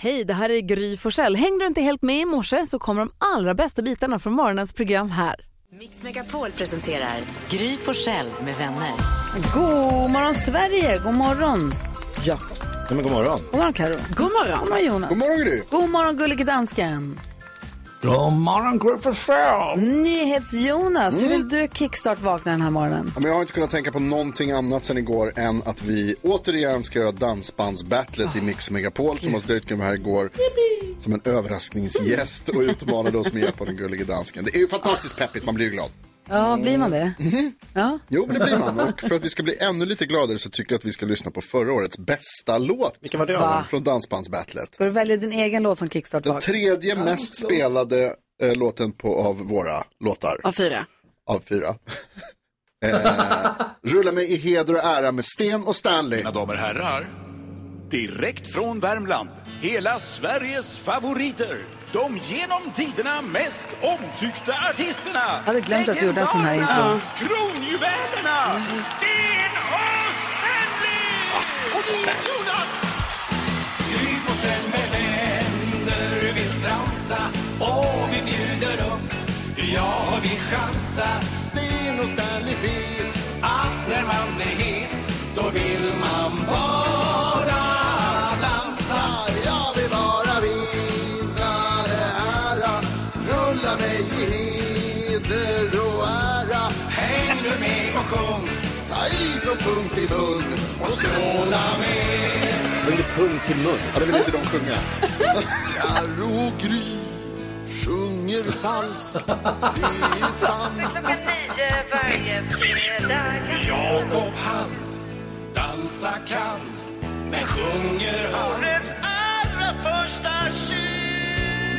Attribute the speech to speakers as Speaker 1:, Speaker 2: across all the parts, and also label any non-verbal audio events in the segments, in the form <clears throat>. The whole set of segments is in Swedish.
Speaker 1: Hej, det här är Gry Forssell. Hängde du inte helt med i morse så kommer de allra bästa bitarna från morgonens program här.
Speaker 2: Mix Megapol presenterar Gry Forssell med vänner.
Speaker 1: God morgon Sverige, god morgon Jakob.
Speaker 3: Nej, men god morgon.
Speaker 1: God morgon Karo. God morgon. God morgon Jonas.
Speaker 4: God morgon, Gry.
Speaker 1: God morgon gullige dansken.
Speaker 3: God morgon, Gry
Speaker 1: Nyhets-Jonas, hur
Speaker 4: Mm.
Speaker 1: vill du kickstart vakna den här morgonen?
Speaker 4: Ja, Men jag har inte kunnat tänka på någonting annat sen igår än att vi återigen ska göra dansbandsbattlet i Mix Megapol. Thomas Deutgen var här igår som en överraskningsgäst och utmanade oss med hjälp av den gullige dansken. Det är ju fantastiskt peppigt, man blir ju glad.
Speaker 1: Ja, blir man det? Ja.
Speaker 4: Mm-hmm. Jo, men det blir man. Och för att vi ska bli ännu lite gladare så tycker jag att vi ska lyssna på förra årets bästa låt.
Speaker 3: Vilken var det? Va?
Speaker 4: Från dansbandsbattlet.
Speaker 1: Ska du välja din egen låt som kickstart
Speaker 4: Den
Speaker 1: vaknar?
Speaker 4: tredje mest spelade eh, låten på, av våra låtar.
Speaker 5: Av fyra.
Speaker 4: av fyra. <laughs> eh, rulla mig i heder och ära med Sten och Stanley.
Speaker 6: Mina damer och herrar, direkt från Värmland, hela Sveriges favoriter, de genom tiderna mest omtyckta artisterna. Jag
Speaker 1: hade glömt att du gjorde en sån här
Speaker 6: Kronjuvelerna, Sten och Stanley! Jonas! Gry Forssell med vänner vill tramsa och vi bjuder upp, ja vi chansar.
Speaker 4: Sten och Stanley vet.
Speaker 6: Att när man blir het, då vill man bara dansa
Speaker 4: Jag vill vara vinnare ära. Rulla mig i heder och ära.
Speaker 6: Häng nu med och sjung
Speaker 4: Ta i från punkt till mun. Och
Speaker 6: Stråla med
Speaker 3: Under punkt till mun.
Speaker 4: Ja, det vill inte de sjunga. Jarro och Gry sjunger falskt. Det är
Speaker 1: Alltså,
Speaker 4: sant.
Speaker 6: Jakob han dansa kan Men sjunger han ett allra första kyl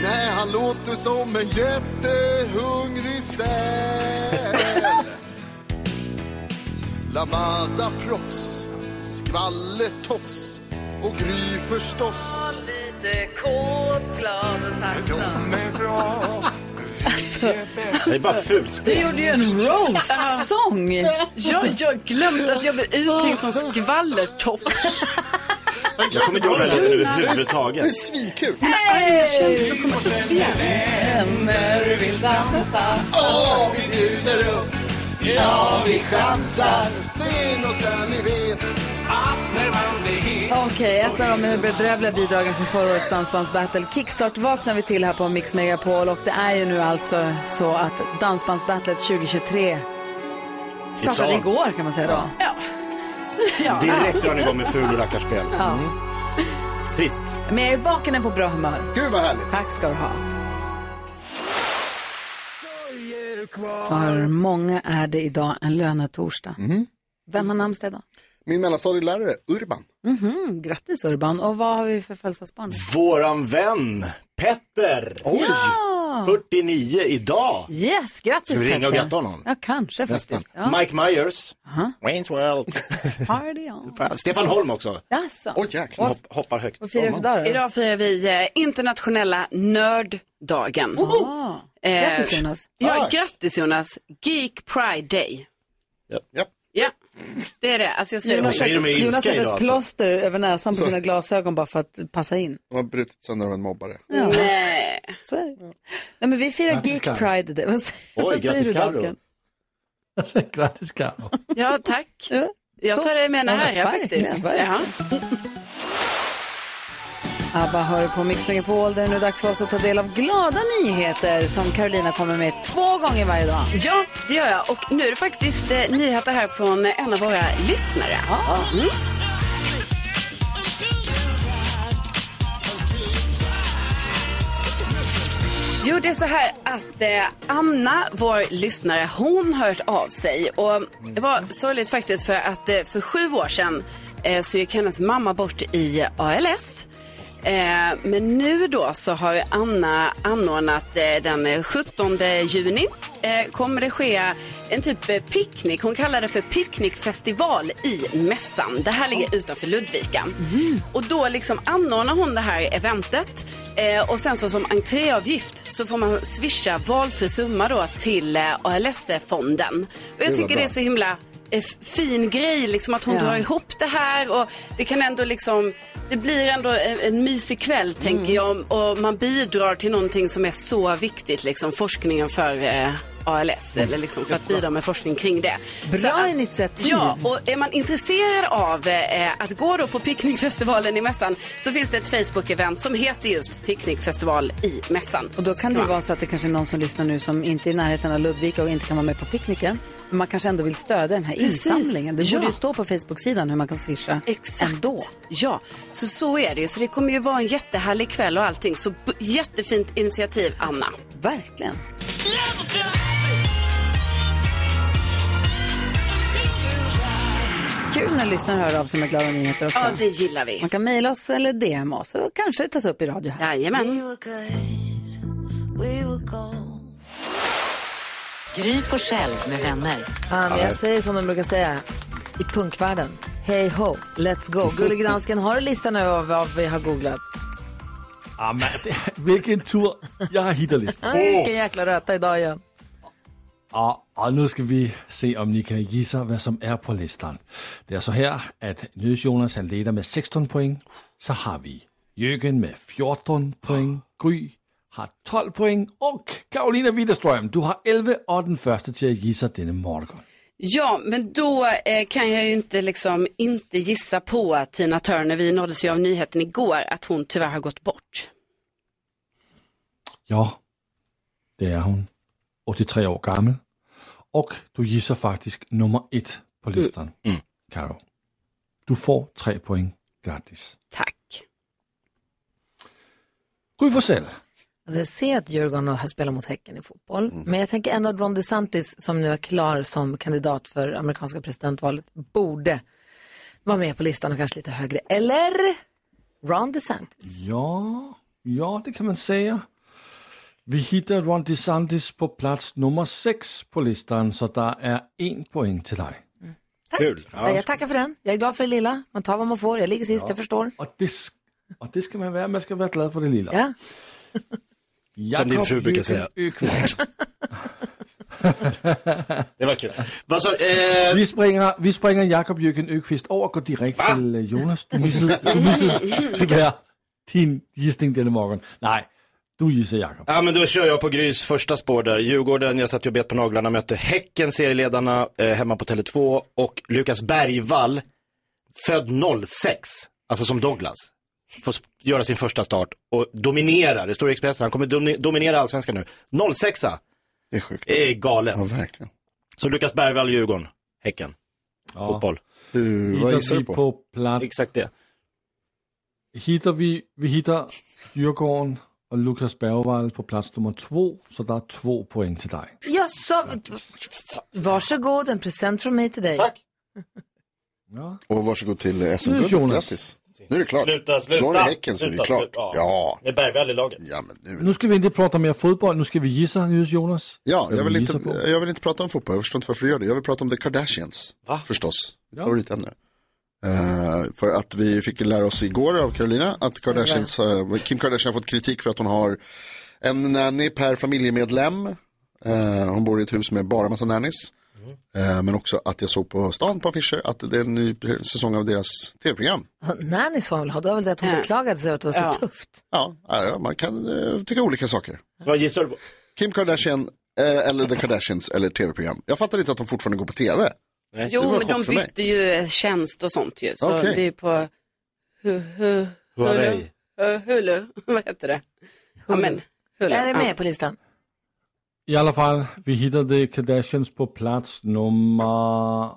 Speaker 4: Nej, han låter som en jättehungrig säl. Lamada-proffs, skvallertofs och Gry förstås.
Speaker 6: De är bra
Speaker 3: Det är bara fult.
Speaker 1: Du gjorde ju en roast-sång.
Speaker 5: Ja, jag glömde att jag blev uttänkt som skvallertofs.
Speaker 3: Jag kommer inte ihåg den låten överhuvudtaget.
Speaker 4: Det är svinkul!
Speaker 1: <laughs> Vänner vill dansa.
Speaker 4: Åh, vi bjuder upp, ja vi chansar. Sten och Stanley vet.
Speaker 6: att när man blir het
Speaker 1: Okej, ett av de bedrövliga bidragen från förra årets Dansbandsbattle. Kickstart vaknar vi till här på Mix Megapol och det är ju nu alltså så att Dansbandsbattlet 2023 startade
Speaker 3: on.
Speaker 1: igår kan man säga då.
Speaker 3: Direkt drar ni igång med ful och rackarspel. Mm. Trist.
Speaker 1: Men jag är vaken och på bra humör.
Speaker 4: Gud vad härligt.
Speaker 1: Tack ska du ha. För många är det idag en lönetorsdag.
Speaker 3: Mhm.
Speaker 1: Vem har namnsdag idag?
Speaker 4: Min mellanstadielärare Urban.
Speaker 1: Mm, grattis Urban. Och vad har vi för födelsedagsbarn?
Speaker 3: Våran vän Petter.
Speaker 4: Oj!
Speaker 3: 49 idag.
Speaker 1: Yes, grattis
Speaker 3: Ska vi ringa och
Speaker 1: Petter.
Speaker 3: gratta honom?
Speaker 1: Ja, kanske
Speaker 3: Nästan.
Speaker 1: faktiskt. Ja,
Speaker 3: Mike Myers. Wayne's World.
Speaker 1: party on.
Speaker 3: Stefan Holm också.
Speaker 1: Jaså?
Speaker 4: Oj jäklar.
Speaker 3: Hopp, hoppar högt.
Speaker 1: Vad firar vi för dag då?
Speaker 5: Idag firar vi eh, internationella nörddagen.
Speaker 1: Ah, Grattis
Speaker 5: Eh,
Speaker 1: Jonas.
Speaker 5: Ja, grattis Jonas. Geek Pride Day.
Speaker 4: Ja.
Speaker 5: Ja, det är det. Alltså jag säger det
Speaker 1: Jonas
Speaker 3: säger de är
Speaker 1: sätter-
Speaker 3: ilska
Speaker 1: Jonas sätter
Speaker 3: idag,
Speaker 1: ett
Speaker 3: alltså.
Speaker 1: plåster över näsan på sina glasögon bara för att passa in.
Speaker 4: Han har brutit sönder av en mobbare.
Speaker 5: Nej.
Speaker 1: Så är det. Nej, men vi firar Geek Pride. Day. Vad säger,
Speaker 3: Oj,
Speaker 1: vad säger
Speaker 3: grattis,
Speaker 1: du
Speaker 3: Karo.
Speaker 1: dansken?
Speaker 7: Jag säger grattis Carro.
Speaker 5: Ja, tack.
Speaker 1: Ja.
Speaker 5: Jag tar det med en
Speaker 1: Ja,
Speaker 5: ära
Speaker 1: verkligen,
Speaker 5: faktiskt.
Speaker 1: verkligen.
Speaker 5: Ja.
Speaker 1: ABBA hör på Mix Megapol där det nu är dags för oss att ta del av glada nyheter som Carolina kommer med två gånger varje dag.
Speaker 5: ja, det gör jag. Och nu är det faktiskt eh, nyheter här från eh, en av våra lyssnare. Mm. Jo, det är så här att eh, Anna, vår lyssnare, hon har hört av sig. Och det var sorgligt faktiskt för att eh, för sju år sedan eh, så gick hennes mamma bort i ALS. Eh, men nu då så har ju Anna anordnat eh, den eh, 17 juni eh, kommer det ske en typ eh, picknick. Hon kallar det för picknickfestival i mässan. Det här ligger utanför Ludvika. Och då liksom anordnar hon det här eventet eh, och sen så som entréavgift så får man swisha valfri summa då till eh, ALS-fonden. Och jag tycker det är så himla eh, fin grej, liksom att hon
Speaker 8: Ja.
Speaker 5: drar ihop det här och det kan ändå liksom, det blir ändå en, en mysig kväll
Speaker 8: Mm.
Speaker 5: tänker jag och man bidrar till någonting som är så viktigt, liksom forskningen för eh, ALS
Speaker 8: Mm.
Speaker 5: eller liksom för att bidra med forskning kring det. Så
Speaker 8: Bra
Speaker 5: att-
Speaker 8: initiativ.
Speaker 5: Ja, och är man intresserad av eh, att gå då på picknickfestivalen i mässan så finns det ett Facebook-event som heter just picknickfestival i mässan.
Speaker 8: Och då kan det ju vara så att det kanske är någon som lyssnar nu som inte är i närheten av Ludvika och inte kan vara med på picknicken. Men man kanske ändå vill stödja den här
Speaker 5: Precis.
Speaker 8: insamlingen. Det borde
Speaker 5: Ja.
Speaker 8: ju stå på Facebook-sidan hur man kan swisha
Speaker 5: Exakt.
Speaker 8: ändå.
Speaker 5: Ja, så så är det ju. Så det kommer ju vara en jättehärlig kväll och allting. Så b- jättefint initiativ, Anna.
Speaker 8: Verkligen. Kul när lyssnare hör av sig med glada nyheter också.
Speaker 5: Ja, det gillar vi.
Speaker 8: Man kan mejla oss eller DM oss och kanske tas upp i radio här.
Speaker 5: Jajamän.
Speaker 2: Gry Forssell med vänner.
Speaker 8: Ja, men jag säger som de brukar säga i punkvärlden. Hey ho, let's go. Gullig dansken, har du listan över vad vi har googlat?
Speaker 7: Ah, men, vilken tur. Jag har hittat listan.
Speaker 8: Nej, Vilken jäkla röta idag igen.
Speaker 7: Og, og nu skal vi se, om ni kan gisse, hvad som er på listen. Det er så her, at Nydes Jonas han leder med 16 point. Så har vi Jørgen med 14 point. Gry har 12 point. Og Karolina Widerstrøm, du har 11 og den første til at gisse denne morgen.
Speaker 5: Ja, men då eh, kan jag ju inte liksom inte gissa på att Tina Turner, vi nåddes ju av nyheten igår, att hon tyvärr har gått bort.
Speaker 7: Ja, det er hun. 83 år gammel. Og du gisser faktisk nummer et på listen, mm. Karo. Du får 3 point gratis.
Speaker 5: Tack.
Speaker 7: Gry for selv.
Speaker 1: Alltså jag ser att Djurgården har spelat mot Häcken i fotboll, men jag tänker ändå att Ron DeSantis, som nu är klar som kandidat för amerikanska presidentvalet, borde vara med på listan och kanske lite högre. Eller Ron DeSantis.
Speaker 7: Ja, ja, det kan man säga. Vi hittar Ron DeSantis på plats nummer sex på listan, så där är en poäng till dig.
Speaker 3: Kul. Ja,
Speaker 1: jag tackar för den. Jag är glad för det lilla. Man tar vad man får. Jag ligger sist, jag förstår.
Speaker 7: Och det, sk- och det ska man vara, man ska vara glad för det lilla. <laughs>
Speaker 1: Ja.
Speaker 3: Som din fru brukar säga.
Speaker 7: säga.
Speaker 3: det var kul. <laughs> Vad sa eh,
Speaker 7: Vi springer, vi springer Jakob Jürgen Ökvist över och går direkt till eh, Jonas. Du missade, du
Speaker 3: <laughs>
Speaker 7: missade tyvärr din gissning denna morgon. Nej, du gissar Jakob.
Speaker 3: Ja men då kör jag på Grys första spår där. Djurgården, jag satt och bet på naglarna, mötte Häcken, serieledarna, eh, hemma på Tele2 och Lukas Bergvall, född 06, alltså som Douglas, får sp- göra sin första start och dominera, det står i Expressen, han kommer dom- dominera allsvenskan nu. 06
Speaker 4: Det är sjukt.
Speaker 3: är galet.
Speaker 4: Ja, verkligen.
Speaker 3: Så Lukas Bergvall, Djurgården, Häcken,
Speaker 7: Ja.
Speaker 3: fotboll.
Speaker 4: Du, Mm. vad
Speaker 7: Hittar
Speaker 4: gissar
Speaker 7: vi
Speaker 4: du på?
Speaker 7: på plats
Speaker 3: Exakt det.
Speaker 7: hittar vi, vi hittar Djurgården och Lukas Bergvall på plats nummer två, så det är två poäng till dig.
Speaker 1: Ja, så... Varsågod, en present från mig till dig.
Speaker 3: Tack.
Speaker 7: Ja.
Speaker 4: Och varsågod till
Speaker 7: Nu,
Speaker 4: SM-guldet.
Speaker 7: Jonas.
Speaker 4: Grattis. Nu är det klart.
Speaker 9: Sluta, sluta.
Speaker 4: Slår du Häcken så är
Speaker 9: Sluta,
Speaker 4: det klart.
Speaker 9: sluta.
Speaker 4: Ja,
Speaker 9: Med Bergvall i laget.
Speaker 4: ja, men nu.
Speaker 7: Nu ska vi inte prata mer fotboll, nu ska vi gissa just Jonas.
Speaker 4: Ja, jag
Speaker 7: Vad
Speaker 4: vill,
Speaker 7: du
Speaker 4: inte,
Speaker 7: gissar på.
Speaker 4: jag vill inte prata om fotboll. Jag förstår inte varför du gör det. Jag vill prata om The Kardashians.
Speaker 9: Va?
Speaker 4: Förstås. Mitt Favoritämne. Eh, för att vi fick lära oss igår av Carolina att Kardashians, eh, Kim Kardashian har fått kritik för att hon har en nanny per familjemedlem. Eh, hon bor i ett hus med bara massa nannies.
Speaker 9: Mm.
Speaker 4: Eh, men också att jag såg på stan på affischer att det är en ny säsong av deras tv-program.
Speaker 1: Alltså, När ni så vill ha, då är väl det att hon
Speaker 5: Ja.
Speaker 1: beklagade sig att det var så
Speaker 5: Ja.
Speaker 1: tufft.
Speaker 4: Ja, ja, man kan eh, tycka olika saker.
Speaker 9: Vad gissar du på?
Speaker 4: Kim Kardashian eh, eller The Kardashians eller tv-program. Jag fattar inte att de fortfarande går på tv.
Speaker 5: Jo,
Speaker 4: var
Speaker 5: men
Speaker 4: chock
Speaker 5: de
Speaker 4: för mig.
Speaker 5: bytte ju eh, tjänst och sånt ju. Så
Speaker 4: Okej.
Speaker 5: det är på hu, hu, Hulu.
Speaker 3: Huawei.
Speaker 5: Eh, Hulu, <laughs> vad heter det? Ja, men Hulu.
Speaker 1: Är det
Speaker 5: Ja.
Speaker 1: med på listan?
Speaker 7: I alla fall, vi hittade Kardashians på plats nummer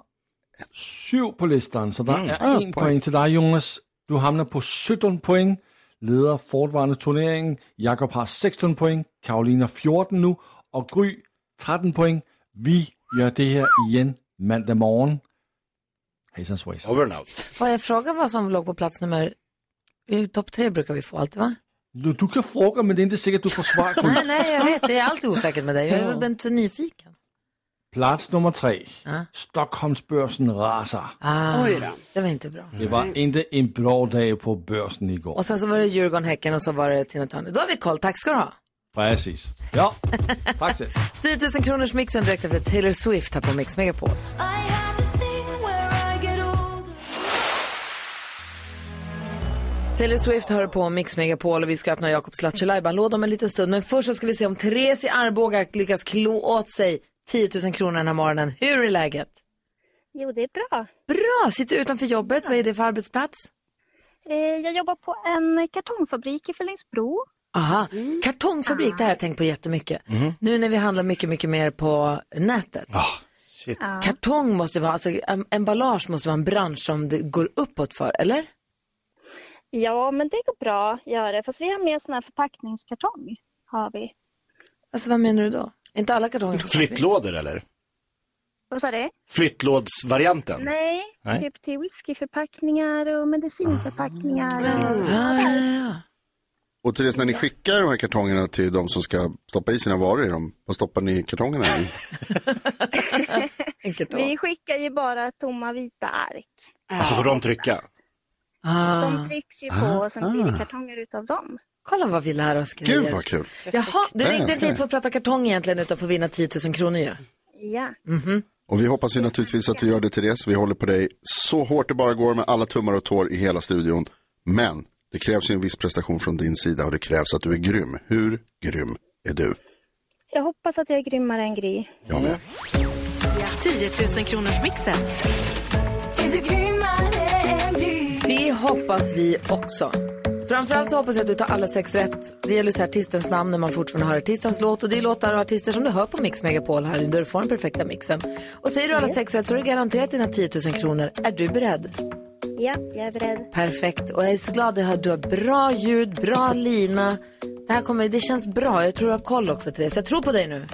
Speaker 7: sju på listan, så där är en poäng. till dig Jonas. Du hamnar på 17 poäng, leder fortfarande turneringen. Jakob har 16 poäng, Karolina 14 nu och Gry 13 poäng. Vi gör det här igen måndag morgon. Hejsan svejsan.
Speaker 3: Over and out.
Speaker 1: Får jag fråga vad som låg på plats nummer... I Topp tre brukar vi få alltid va?
Speaker 7: Du, du kan fråga, men det är inte säkert du får
Speaker 1: <laughs>
Speaker 7: svar. Gry.
Speaker 1: Nej, nej, jag vet. Det är alltid osäkert med dig. Jag är väl inte nyfiken.
Speaker 7: Plats nummer tre. Stockholmsbörsen rasar.
Speaker 1: Ah,
Speaker 5: Oj då.
Speaker 1: det var inte bra.
Speaker 7: Det var inte en bra dag på börsen igår.
Speaker 1: Och sen så var det Djurgården, Häcken och så var det Tina Turner. Då har vi koll. Tack ska du ha.
Speaker 7: Precis. Ja, tack så
Speaker 1: 10 000 kronors mixen direkt efter Taylor Swift här på Mix Megapol.
Speaker 6: I have this thing
Speaker 1: Taylor Swift hör på Mix Megapol och vi ska öppna Jakobs Lattjo låda om en liten stund. Men först så ska vi se om Therese i Arboga lyckas klå åt sig 10 000 kronor den här morgonen. Hur är läget?
Speaker 9: Jo, det är bra.
Speaker 1: Bra! Sitter utanför jobbet. Vad är det för arbetsplats?
Speaker 9: Eh, Jag jobbar på en kartongfabrik i Fellingsbro.
Speaker 1: Aha,
Speaker 9: Mm.
Speaker 1: kartongfabrik, det här har jag tänkt på jättemycket.
Speaker 4: Mhm.
Speaker 1: Nu när vi handlar mycket, mycket mer på nätet.
Speaker 4: Ah,
Speaker 3: Shit.
Speaker 1: Kartong måste vara, alltså em- emballage måste vara en bransch som det går uppåt för, eller?
Speaker 9: Ja, men det går bra gör det. Fast vi har med sån här förpackningskartong. Har vi.
Speaker 1: Alltså vad menar du då? Inte alla kartonger?
Speaker 3: Flyttlådor eller?
Speaker 9: Vad sa du?
Speaker 3: Flyttlådsvarianten?
Speaker 9: Nej,
Speaker 3: Nej.
Speaker 9: typ till whiskyförpackningar och medicinförpackningar. Och... <laughs>
Speaker 4: Och Therese, när ni skickar de här kartongerna till de som ska stoppa i sina varor i dem, vad stoppar ni kartongerna
Speaker 9: <laughs>
Speaker 4: i?
Speaker 1: Enkelt då.
Speaker 9: Vi skickar ju bara tomma vita ark.
Speaker 3: Så Alltså får de trycka.
Speaker 1: Ah.
Speaker 9: De trycks ju på och sen blir det kartonger utav dem.
Speaker 1: Kolla vad vi lär oss grejer.
Speaker 4: Gud vad kul.
Speaker 1: Jaha, du
Speaker 4: Det
Speaker 1: ringde inte
Speaker 4: älskar
Speaker 1: hit för att prata kartong egentligen utan för att vinna 10 000 kronor ju.
Speaker 9: Ja,
Speaker 4: Och vi hoppas ju naturligtvis att du gör det Therese. Vi håller på dig så hårt det bara går med alla tummar och tår i hela studion. Men det krävs ju en viss prestation från din sida och det krävs att du är grym. Hur grym är du?
Speaker 9: jag hoppas att jag är grymmare än Gry.
Speaker 4: Jag med.
Speaker 2: 10 000 kronors mixen.
Speaker 1: Det hoppas vi också. Framförallt så hoppas jag att du tar alla sex rätt. Det gäller så här artistens namn när man fortfarande hör artistens låt. Och det är låtar och artister som du hör på Mix Megapol här där du får den perfekta mixen. Och säger du alla sex rätt så är du garanterat dina 10 000 kronor. Är du beredd?
Speaker 9: Ja, jag är beredd.
Speaker 1: Perfekt. Och jag är så glad att du har bra ljud, bra lina. Det här kommer, det känns bra. Jag tror du har koll också Therese. Jag tror på dig nu.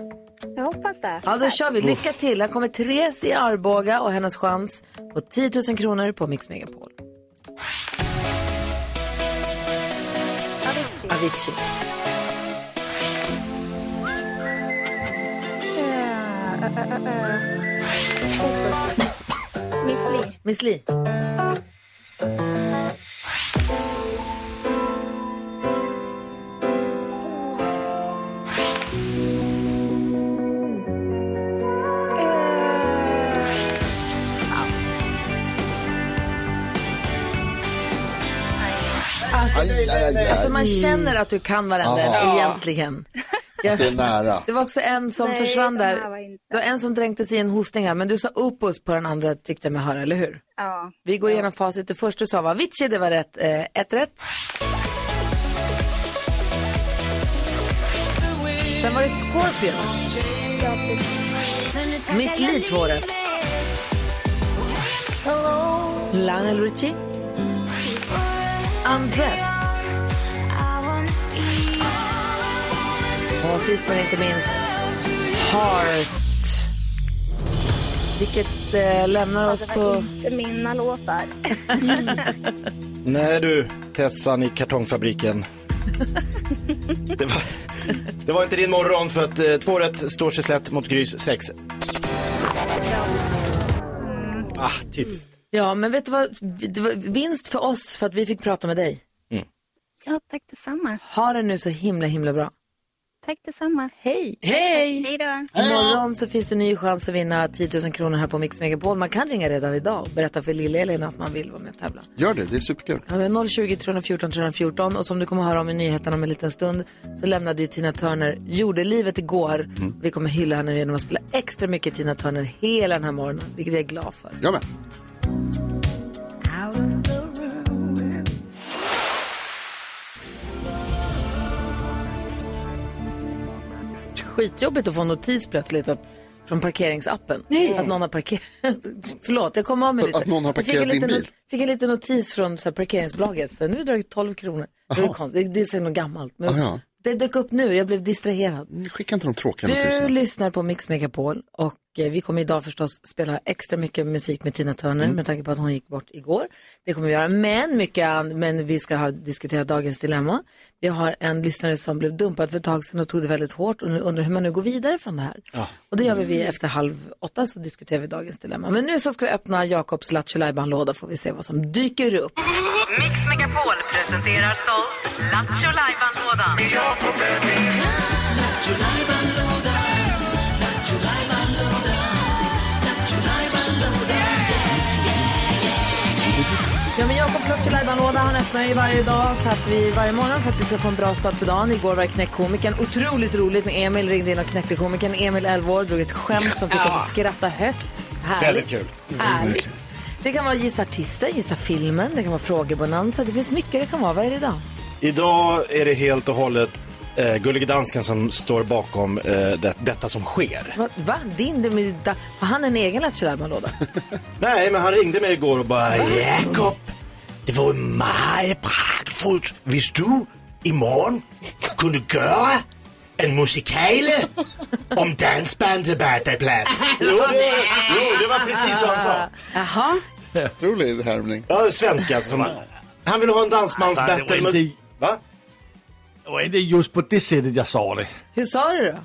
Speaker 9: Jag hoppas det.
Speaker 1: Ja, då kör vi. Lycka till. Här kommer Therese i Arboga och hennes chans på 10 000 kronor på Mix Megapol.
Speaker 9: Avicii.
Speaker 1: Avicii.
Speaker 9: Eh, eh, eh, eh. Fokus. Miss Li.
Speaker 1: Miss Li. Alltså, alltså man känner att du kan varenda en, egentligen. Jag,
Speaker 4: Det är nära.
Speaker 1: det var också en som
Speaker 9: Nej,
Speaker 1: försvann
Speaker 9: den
Speaker 1: där.
Speaker 9: här var inte.
Speaker 1: Det var en som dränkte sig i en hostning här, men du sa opus på den andra tyckte jag mig höra, eller hur?
Speaker 9: Ja.
Speaker 1: Vi går igenom facit. Det första du sa var Avicii, det var rätt. Eh, ett rätt. Sen var det Scorpions. Miss Li, två rätt. Lionel Richie. Undressed. Och sist men inte minst, Heart. Vilket eh, lämnar oss
Speaker 9: Det var
Speaker 1: på...
Speaker 9: inte mina låtar.
Speaker 3: Nej du, Tessan i kartongfabriken. <laughs> det, var, det var inte din morgon för att eh, två rätt står sig slätt mot Grys sex. Ah, typiskt.
Speaker 1: Ja, men vet du vad? Det var vinst för oss för att vi fick prata med dig.
Speaker 9: Ja, tack detsamma.
Speaker 1: Ha det nu så himla, himla bra.
Speaker 9: Tack detsamma.
Speaker 1: Hej!
Speaker 8: Hej!
Speaker 9: Hej då.
Speaker 1: Imorgon så finns det en ny chans att vinna 10 000 kronor här på Mix Megapol. Man kan ringa redan idag och berätta för Lill-Elin att man vill vara med och tävla.
Speaker 4: Gör det, det är superkul.
Speaker 1: Ja, men 020 314 314 och som du kommer höra om i nyheterna om en liten stund så lämnade ju Tina Turner jordelivet igår.
Speaker 4: Mm.
Speaker 1: Vi kommer hylla henne genom att spela extra mycket Tina Turner hela den här morgonen, vilket jag är glad för.
Speaker 4: Jag med.
Speaker 1: skitjobbigt att få en notis plötsligt att, från parkeringsappen. Att någon har parkerat. <laughs> Förlåt, jag kom av mig lite.
Speaker 4: Att någon har
Speaker 1: Jag fick
Speaker 4: parkerat
Speaker 1: en liten
Speaker 4: din
Speaker 1: not-
Speaker 4: bil.
Speaker 1: fick en liten notis från så här, parkeringsbolaget. Så här, nu har jag dragit 12 kronor. Det, är konstigt. det är så något gammalt. Men
Speaker 4: Aha.
Speaker 1: Det dök upp nu, jag blev distraherad.
Speaker 4: Skicka inte de tråkiga
Speaker 1: Du
Speaker 4: notiserna.
Speaker 1: lyssnar på Mix Megapol och eh, vi kommer idag förstås spela extra mycket musik med Tina Turner med tanke på att hon gick bort igår. Det kommer vi göra, men mycket an- men vi ska ha, diskutera dagens dilemma. Vi har en lyssnare som blev dumpad för ett tag sedan och tog det väldigt hårt och nu undrar hur man nu går vidare från det här. Och det gör vi vi efter halv åtta så diskuterar vi dagens dilemma. Men nu så ska vi öppna Jakobs Lattjo låda får vi se vad som dyker upp.
Speaker 2: Mix Megapol presenterar stolt Lattjo Lajban-lådan.
Speaker 1: Ja, men Jakobs Slottsjölajban-låda han öppnar ju varje dag för att vi varje morgon för att vi ska få en bra start på dagen. Igår var det knäckkomikern. Otroligt roligt när Emil ringde in och knäckte komikern. Emil 11 år drog ett skämt som fick oss att skratta högt.
Speaker 3: Väldigt
Speaker 1: Härligt.
Speaker 3: kul.
Speaker 1: Härligt. Det kan vara gissa artisten, gissa filmen, det kan vara frågebonanza. Det finns mycket det kan vara. Vad är det idag?
Speaker 3: Idag är det helt och hållet eh, Gullige Dansken som står bakom eh, det, detta som sker.
Speaker 1: Va? Va? Din, din, din, da- har han en
Speaker 3: <laughs>
Speaker 1: egen Lattjo-lajban-låda?
Speaker 3: Nej, men han ringde mig igår och bara Jakob, det vore mycket praktfullt hvis du imorgon kunde göra en musikale om dansbandet
Speaker 6: <laughs>
Speaker 3: Battleplats. jo, det, jo, det var precis vad han sa.
Speaker 5: Jaha.
Speaker 4: Otrolig härmning.
Speaker 3: Ja, svenska alltså. som han- Han ville ha en
Speaker 7: Alltså, det
Speaker 3: dansbandsbattle.
Speaker 7: var
Speaker 3: med...
Speaker 7: inte-
Speaker 3: Va?
Speaker 7: Det var inte just på det sättet jag sa det.
Speaker 1: Hur sa du då?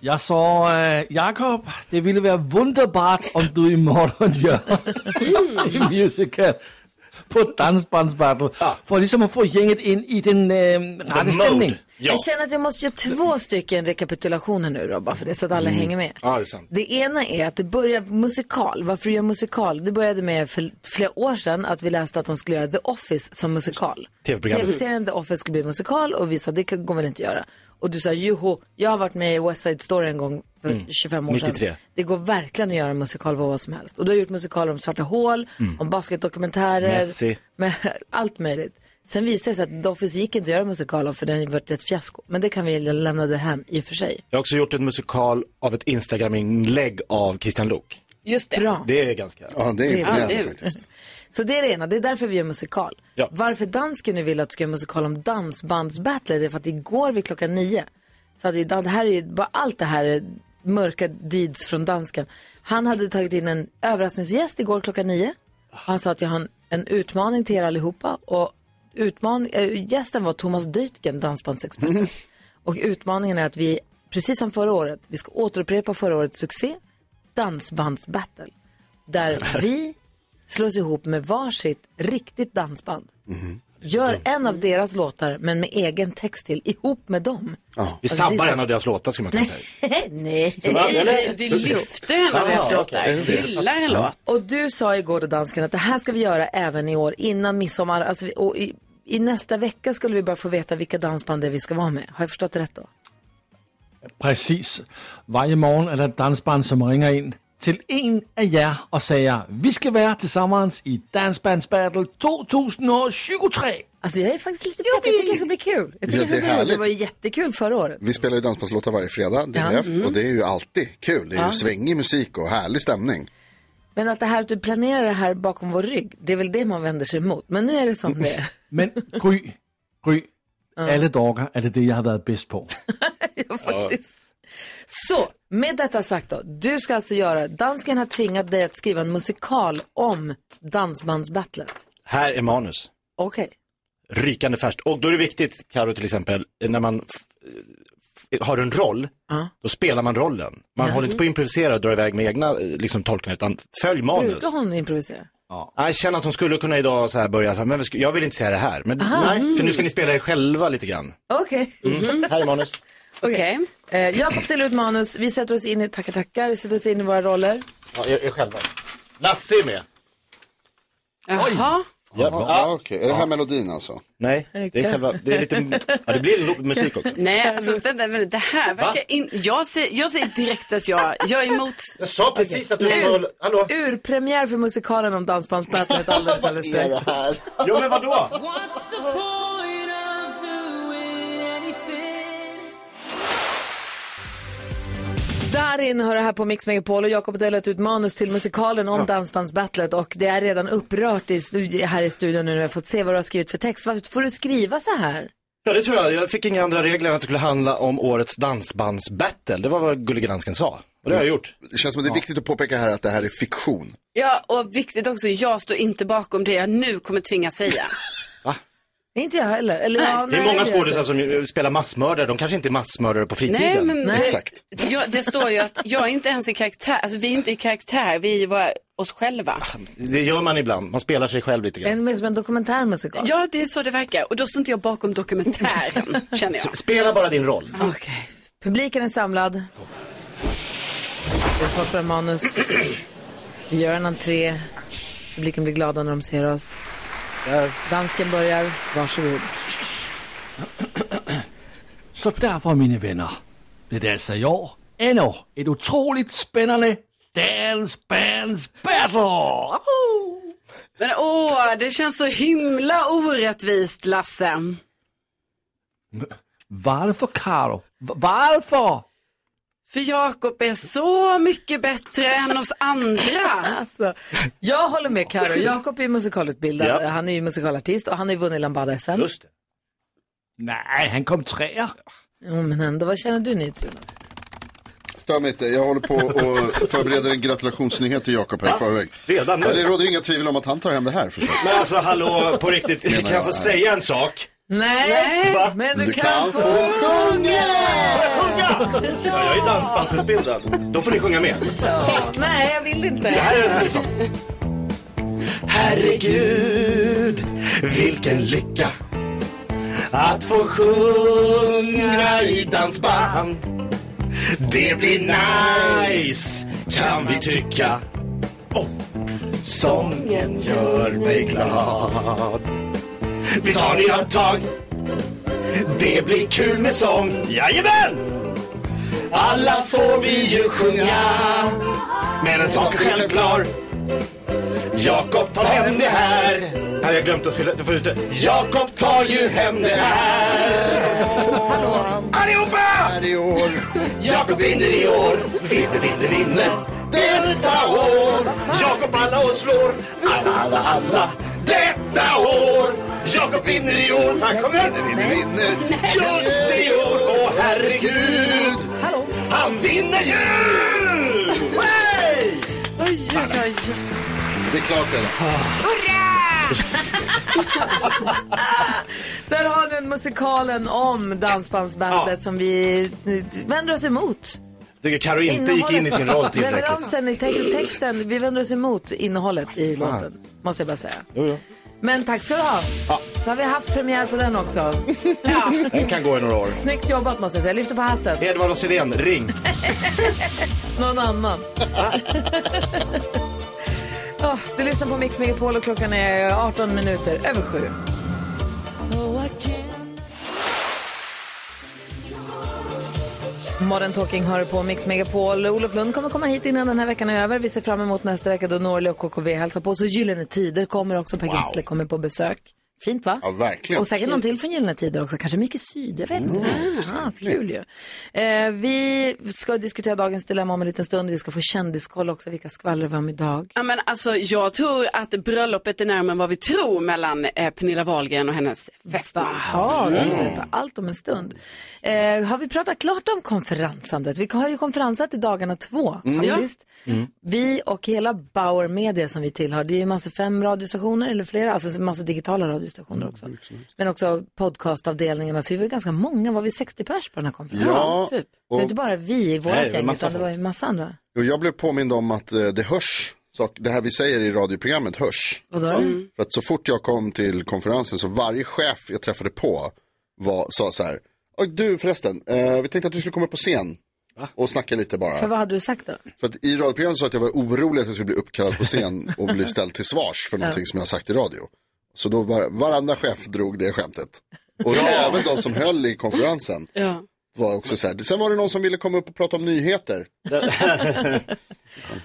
Speaker 7: Jag sa, eh, Jakob, det ville vara underbart om du <laughs> imorgon gör
Speaker 1: Hmm.
Speaker 7: en musical på dansbandsbattle. För liksom att få gänget in i den eh, rätta stämningen.
Speaker 3: Ja.
Speaker 1: Jag känner att jag måste göra två stycken rekapitulationer nu då, bara för det, så att
Speaker 3: Mm.
Speaker 1: alla hänger med.
Speaker 3: ja, det är sant.
Speaker 1: Det ena är att det börjar musikal. Varför du gör musikal? Det började med för flera år sedan att vi läste att de skulle göra The Office som musikal.
Speaker 3: TV-programmet.
Speaker 1: serien The Office skulle bli musikal och vi sa det kan- går väl inte att göra. Och du sa joho, jag har varit med i West Side Story en gång för 25 år
Speaker 3: 93.
Speaker 1: sedan. Det går verkligen att göra en musikal på vad som helst. Och du har gjort musikaler om svarta hål, om basketdokumentärer.
Speaker 3: Messi.
Speaker 1: Med <laughs> allt möjligt. Sen visade det sig att The Office gick inte att göra musikal av för den var ett fiasko. Men det kan vi lämna därhän i och för sig.
Speaker 3: Jag har också gjort en musikal av ett Instagram-inlägg av Christian Lok.
Speaker 5: Just det.
Speaker 1: Bra.
Speaker 3: Det är ganska...
Speaker 4: Ja, det är
Speaker 5: Ja,
Speaker 4: imponerande
Speaker 5: det-
Speaker 4: faktiskt.
Speaker 1: Så det är det ena, det är därför vi gör musikal.
Speaker 3: Ja.
Speaker 1: Varför dansken nu vill att du ska göra musikal om dansbandsbattle, det är för att igår vid klockan nio, så hade ju, Dan- det här är ju, bara allt det här är mörka deeds från dansken. Han hade tagit in en överraskningsgäst igår klockan nio. Han sa att jag har en, en utmaning till er allihopa och utman, äh, gästen var Thomas Dytgen, dansbandsexpert.
Speaker 4: Mm.
Speaker 1: Och utmaningen är att vi, precis som förra året, vi ska återupprepa förra årets succé, dansbandsbattle. Där vi slås ihop med varsitt riktigt dansband.
Speaker 4: Mm-hmm.
Speaker 1: Gör en av deras låtar men med egen text till ihop med dem. <laughs>
Speaker 3: Vi
Speaker 1: Alltså, det är
Speaker 3: sabbar
Speaker 1: så-
Speaker 3: en av deras låtar skulle man kunna säga.
Speaker 1: Nej.
Speaker 5: Vi, vi lyfter en av deras låtar. Vi gillar en låt.
Speaker 1: Och du sa igår då dansken att det här ska vi göra även i år innan midsommar. Alltså, vi- och i, I nästa vecka skulle vi bara få veta vilka dansband det är vi ska vara med. Har jag förstått det rätt då?
Speaker 7: Precis. Varje morgon är det ett dansband som ringer in till en av er och säger vi ska vara tillsammans i Dansbandsbattle 2023.
Speaker 1: Alltså jag är faktiskt lite pepp. Jag tycker det ska bli kul. Jag tycker
Speaker 4: Ja, det är
Speaker 1: det, det, det
Speaker 4: härligt.
Speaker 1: var jättekul förra året.
Speaker 4: Vi spelar ju dansbandslåtar varje fredag,
Speaker 1: Ja. Mm.
Speaker 4: DDF, och det är ju alltid kul. Det är ju svängig musik och härlig stämning.
Speaker 1: Men att det här att du planerar det här bakom vår rygg, det är väl det man vänder sig emot. Men nu är det som det är.
Speaker 7: Men Gry, Gry, alla dagar är det det jag har varit bäst på.
Speaker 1: Ja, faktiskt. Så, med detta sagt då. Du ska alltså göra, dansken har tvingat dig att skriva en musikal om dansbandsbattlet.
Speaker 3: Här är manus.
Speaker 1: Okej.
Speaker 3: rykande färskt. Och då är det viktigt, Karo till exempel, när man f- f- har en roll, då spelar man rollen. Man håller inte på att improvisera och dra iväg med egna eh, liksom, tolkningar, utan följ manus.
Speaker 1: Brukar hon improvisera?
Speaker 3: Jag känner att hon skulle kunna idag så här börja, så här, men vi ska- jag vill inte säga det här. Men nej, för nu ska ni spela er själva lite grann. Mm.
Speaker 1: Okej. <laughs>
Speaker 3: Här är manus.
Speaker 5: Okej.
Speaker 1: Eh, Jakob delar ut manus, vi sätter oss in i, tackar tackar, vi sätter oss in i våra roller.
Speaker 3: Ja, er, er själva. Lasse är med.
Speaker 5: Jaha.
Speaker 4: Ja, ja, okej. Är det här melodin alltså?
Speaker 3: Nej, det är själva, det är lite, ja, det blir lo- musik också.
Speaker 5: Nej, alltså vänta, vänta, det här verkar in... Jag säger, jag säger direkt att jag, jag är emot...
Speaker 3: Jag sa precis att du var, hallå?
Speaker 1: Urpremiär för musikalen
Speaker 3: <laughs>
Speaker 1: om dansbandsbattlet alldeles alldeles strax.
Speaker 4: det här?
Speaker 3: Jo men vadå?
Speaker 1: Darin hör det här på Mix Megapol och Jakob har delat ut manus till musikalen om dansbandsbattlet och det är redan upprört i studi- här i studion nu när vi har fått se vad du har skrivit för text. Varför får du skriva så här?
Speaker 3: Ja det tror jag. Jag fick inga andra regler än att det skulle handla om årets dansbandsbattle. Det var vad Gullige Dansken sa. Och det har jag gjort.
Speaker 4: Det känns som att det är viktigt att påpeka här att det här är fiktion.
Speaker 5: Ja, och viktigt också, jag står inte bakom det jag nu kommer tvingas säga.
Speaker 1: Nej, Inte jag heller. Eller, ja,
Speaker 3: Det är
Speaker 1: nej,
Speaker 3: många
Speaker 1: jag vet
Speaker 3: skådisar som ju eh, spelar massmördare. De kanske inte är massmördare på fritiden.
Speaker 5: Nej, men
Speaker 4: Exakt.
Speaker 5: Jag, det står ju att jag är inte ens i karaktär, alltså vi är inte i karaktär, vi är ju bara oss själva.
Speaker 3: Det gör man ibland. Man spelar sig själv lite
Speaker 1: inte.
Speaker 3: grann.
Speaker 1: En, mer som en dokumentärmusikal.
Speaker 5: Ja, det är så det verkar. Och då står inte jag bakom
Speaker 1: <laughs>
Speaker 5: dokumentären, känner jag.
Speaker 3: Spela bara din roll.
Speaker 1: Okej. Publiken är samlad. Vi har fått fram manus. Vi gör en entré. publiken blir glada när de ser oss. Dansken börjar. Varsågod.
Speaker 7: Så derfor, mine venner, blev det altså i år endnu et utroligt spændende Dance Bands Battle! Woohoo!
Speaker 5: Men åh, det känns så himla orättvist, Lasse.
Speaker 7: Varför, Karo? Varför?
Speaker 5: För Jakob är så mycket bättre än oss andra.
Speaker 1: Alltså, jag håller med Karo. Jakob är ju musikalutbildad.
Speaker 3: Ja.
Speaker 1: Han är ju musikalartist och han har ju vunnit Lambada-SM.
Speaker 3: Just det.
Speaker 7: Nej, han kom træer.
Speaker 1: Jo, men ändå, vad känner du nu, Jonas?
Speaker 4: Stör mig inte, jag håller på
Speaker 3: <laughs>
Speaker 4: och förbereder en gratulationsnyhet till Jakob här i förväg.
Speaker 3: Redan nu?
Speaker 4: Ja, det råder ju inga tvivel om att han tar hem det här förstås.
Speaker 3: Men alltså hallå, på riktigt, kan jag få säga en sak?
Speaker 1: Nej,
Speaker 3: Va?
Speaker 1: men du,
Speaker 4: Du kan få sjunga!
Speaker 3: Sjunga! Ja, jag är dansbandsutbildad. Då får ni sjunga med.
Speaker 1: Nej, jag vill inte.
Speaker 3: Här är den här sången. Herregud, vilken lycka att få sjunga i dansband. Det blir nice, kan vi tycka. Oh. Sången gör mig glad. Vi tar nya tag. Det blir kul med sång. Jajamän! Alla får vi ju sjunga. Men en sak är självklar Jakob tar hem det här Här, jag glömt att fylla, du får ut det Jakob tar ju hem det här Allihopa!
Speaker 4: Här i år.
Speaker 3: Jakob vinner i år Vinner, vinner, vinner Detta år Jakob alla och slår Alla, alla, alla Detta år Jakob vinner i år Tack, kom igen
Speaker 4: Vinner, vinner.
Speaker 3: Just i år, åh herregud Han vinner ju! Hey!
Speaker 5: Oj, oj, oj.
Speaker 4: Det är klart redan.
Speaker 1: Där har den musikalen om Dansbandsbandet som vi vänder oss emot.
Speaker 3: tycker Karo inte gick in i sin roll tillräckligt.
Speaker 1: Leveransen i te- texten, vi vänder oss emot innehållet i låten, måste jag bara säga. Men tack ska du ha. Då har vi haft premiär på
Speaker 3: <laughs>
Speaker 1: den också.
Speaker 3: Den kan gå i några år.
Speaker 1: Snyggt jobbat måste jag säga. Jag lyfter på hatten.
Speaker 3: Edvard och Sirén, ring.
Speaker 1: Någon annan. <laughs> Åh, du lyssnar på Mix Megapol och klockan är 18 minuter över sju. Modern Talking hör på Mix Megapol. Olof Lund kommer komma hit innan den här veckan är över. Vi ser fram emot nästa vecka då Norli och KKV hälsar på. Så Gyllene Tider kommer också. Per Gessle kommer på besök. Fint va?
Speaker 4: Ja, verkligen. Mm.
Speaker 1: Och säkert någon till från Gyllene Tider också, kanske Micke Syd, jag vet inte. Ah, kul ju. Eh, vi ska diskutera dagens dilemma om en liten stund. Vi ska få kändiskoll också, vilka skvallrar vi om idag?
Speaker 5: Ja, men alltså, jag tror att bröllopet är närmare än vad vi tror mellan eh, Pernilla Wahlgren och hennes fästman.
Speaker 1: Ja, vi får
Speaker 3: Mm.
Speaker 1: berätta allt om en stund. Eh, har vi pratat klart om konferensandet? Vi har ju konferensat i dagarna två
Speaker 3: Mm.
Speaker 1: faktiskt. Vi och hela Bauer Media som vi tillhör, det är ju massa fem radiostationer eller flera, alltså massa digitala radiostationer också.
Speaker 3: Mm,
Speaker 1: Men också podcastavdelningarna, så vi var ganska många, var vi 60 pers på den här konferensen?
Speaker 4: Ja,
Speaker 5: typ.
Speaker 1: Det var
Speaker 4: och,
Speaker 1: inte bara vi i
Speaker 3: Nej, det
Speaker 1: vårt
Speaker 3: var
Speaker 1: gäng,
Speaker 3: massa
Speaker 1: utan det
Speaker 3: folk.
Speaker 1: var ju massa andra.
Speaker 4: och jag blev påmind om att eh, det hörs. Sak, det här vi säger i radioprogrammet hörs.
Speaker 1: Vadå? Mm.
Speaker 4: För att så fort jag kom till konferensen så varje chef jag träffade på var, sa så här. "Oj, Du förresten, eh, vi tänkte att du skulle komma upp på scen och snacka lite bara.
Speaker 1: För vad hade du sagt då?
Speaker 4: För att i radioprogrammet sa jag att jag var orolig att jag skulle bli uppkallad på scen och bli ställd till svars för någonting som jag har sagt i radio. Så då var, varandra chef drog det skämtet. Och även de som höll i konferensen
Speaker 5: Ja.
Speaker 4: var också så här. Sen var det någon som ville komma upp och prata om nyheter. <laughs>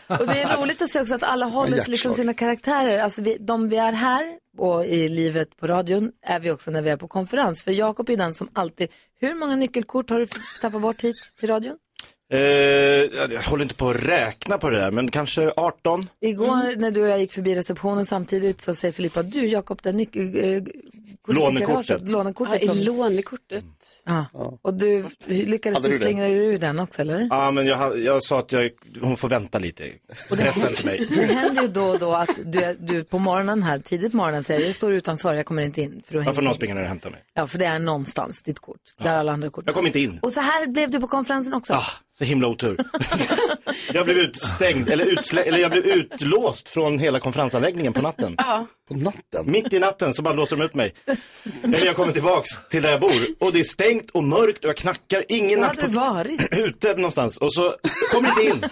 Speaker 1: Och det är roligt att se också att alla håller sig liksom
Speaker 4: hjärtslag.
Speaker 1: sina karaktärer. Alltså vi, de vi är här och i livet på radion är vi också när vi är på konferens. För Jakob är den som alltid, hur många nyckelkort har du tappat bort hit till radion?
Speaker 3: Eh, jag håller inte på att räkna på det där, men kanske 18?
Speaker 1: Igår
Speaker 5: Mm.
Speaker 1: när du och jag gick förbi receptionen samtidigt så säger Filippa, du Jakob, det nyckel... eh, kortet i
Speaker 3: Lånekortet.
Speaker 1: garaget,
Speaker 5: Ja,
Speaker 1: Lånekortet.
Speaker 5: I
Speaker 1: som,
Speaker 5: lånekortet.
Speaker 1: ja. Och du lyckades
Speaker 4: Hade
Speaker 1: du
Speaker 4: du det?
Speaker 1: slingra dig ur den också, eller?
Speaker 3: Ja, men jag, ha- jag sa att jag, hon får vänta lite. Stressa inte mig.
Speaker 1: Det händer ju då och då att du, du på morgonen här, tidigt på morgonen säger jag står utanför, jag kommer inte in. För då hänger-
Speaker 3: Jag får någon springa ner och hämta mig.
Speaker 1: Ja, för det är någonstans ditt kort, där alla andra kort.
Speaker 3: Jag kom inte in.
Speaker 1: Och så här blev du på konferensen också.
Speaker 3: Ah, så himla otur. jag blev utstängd, eller, utslä- eller jag blev utlåst från hela konferensanläggningen på natten.
Speaker 5: Ja.
Speaker 4: På natten?
Speaker 3: Mitt i natten så bara låser de ut mig. Eller jag kommer tillbaks till där jag bor och det är stängt och mörkt och jag knackar. Ingen
Speaker 8: Vad hade det varit?
Speaker 3: ute någonstans och så kommer det inte in.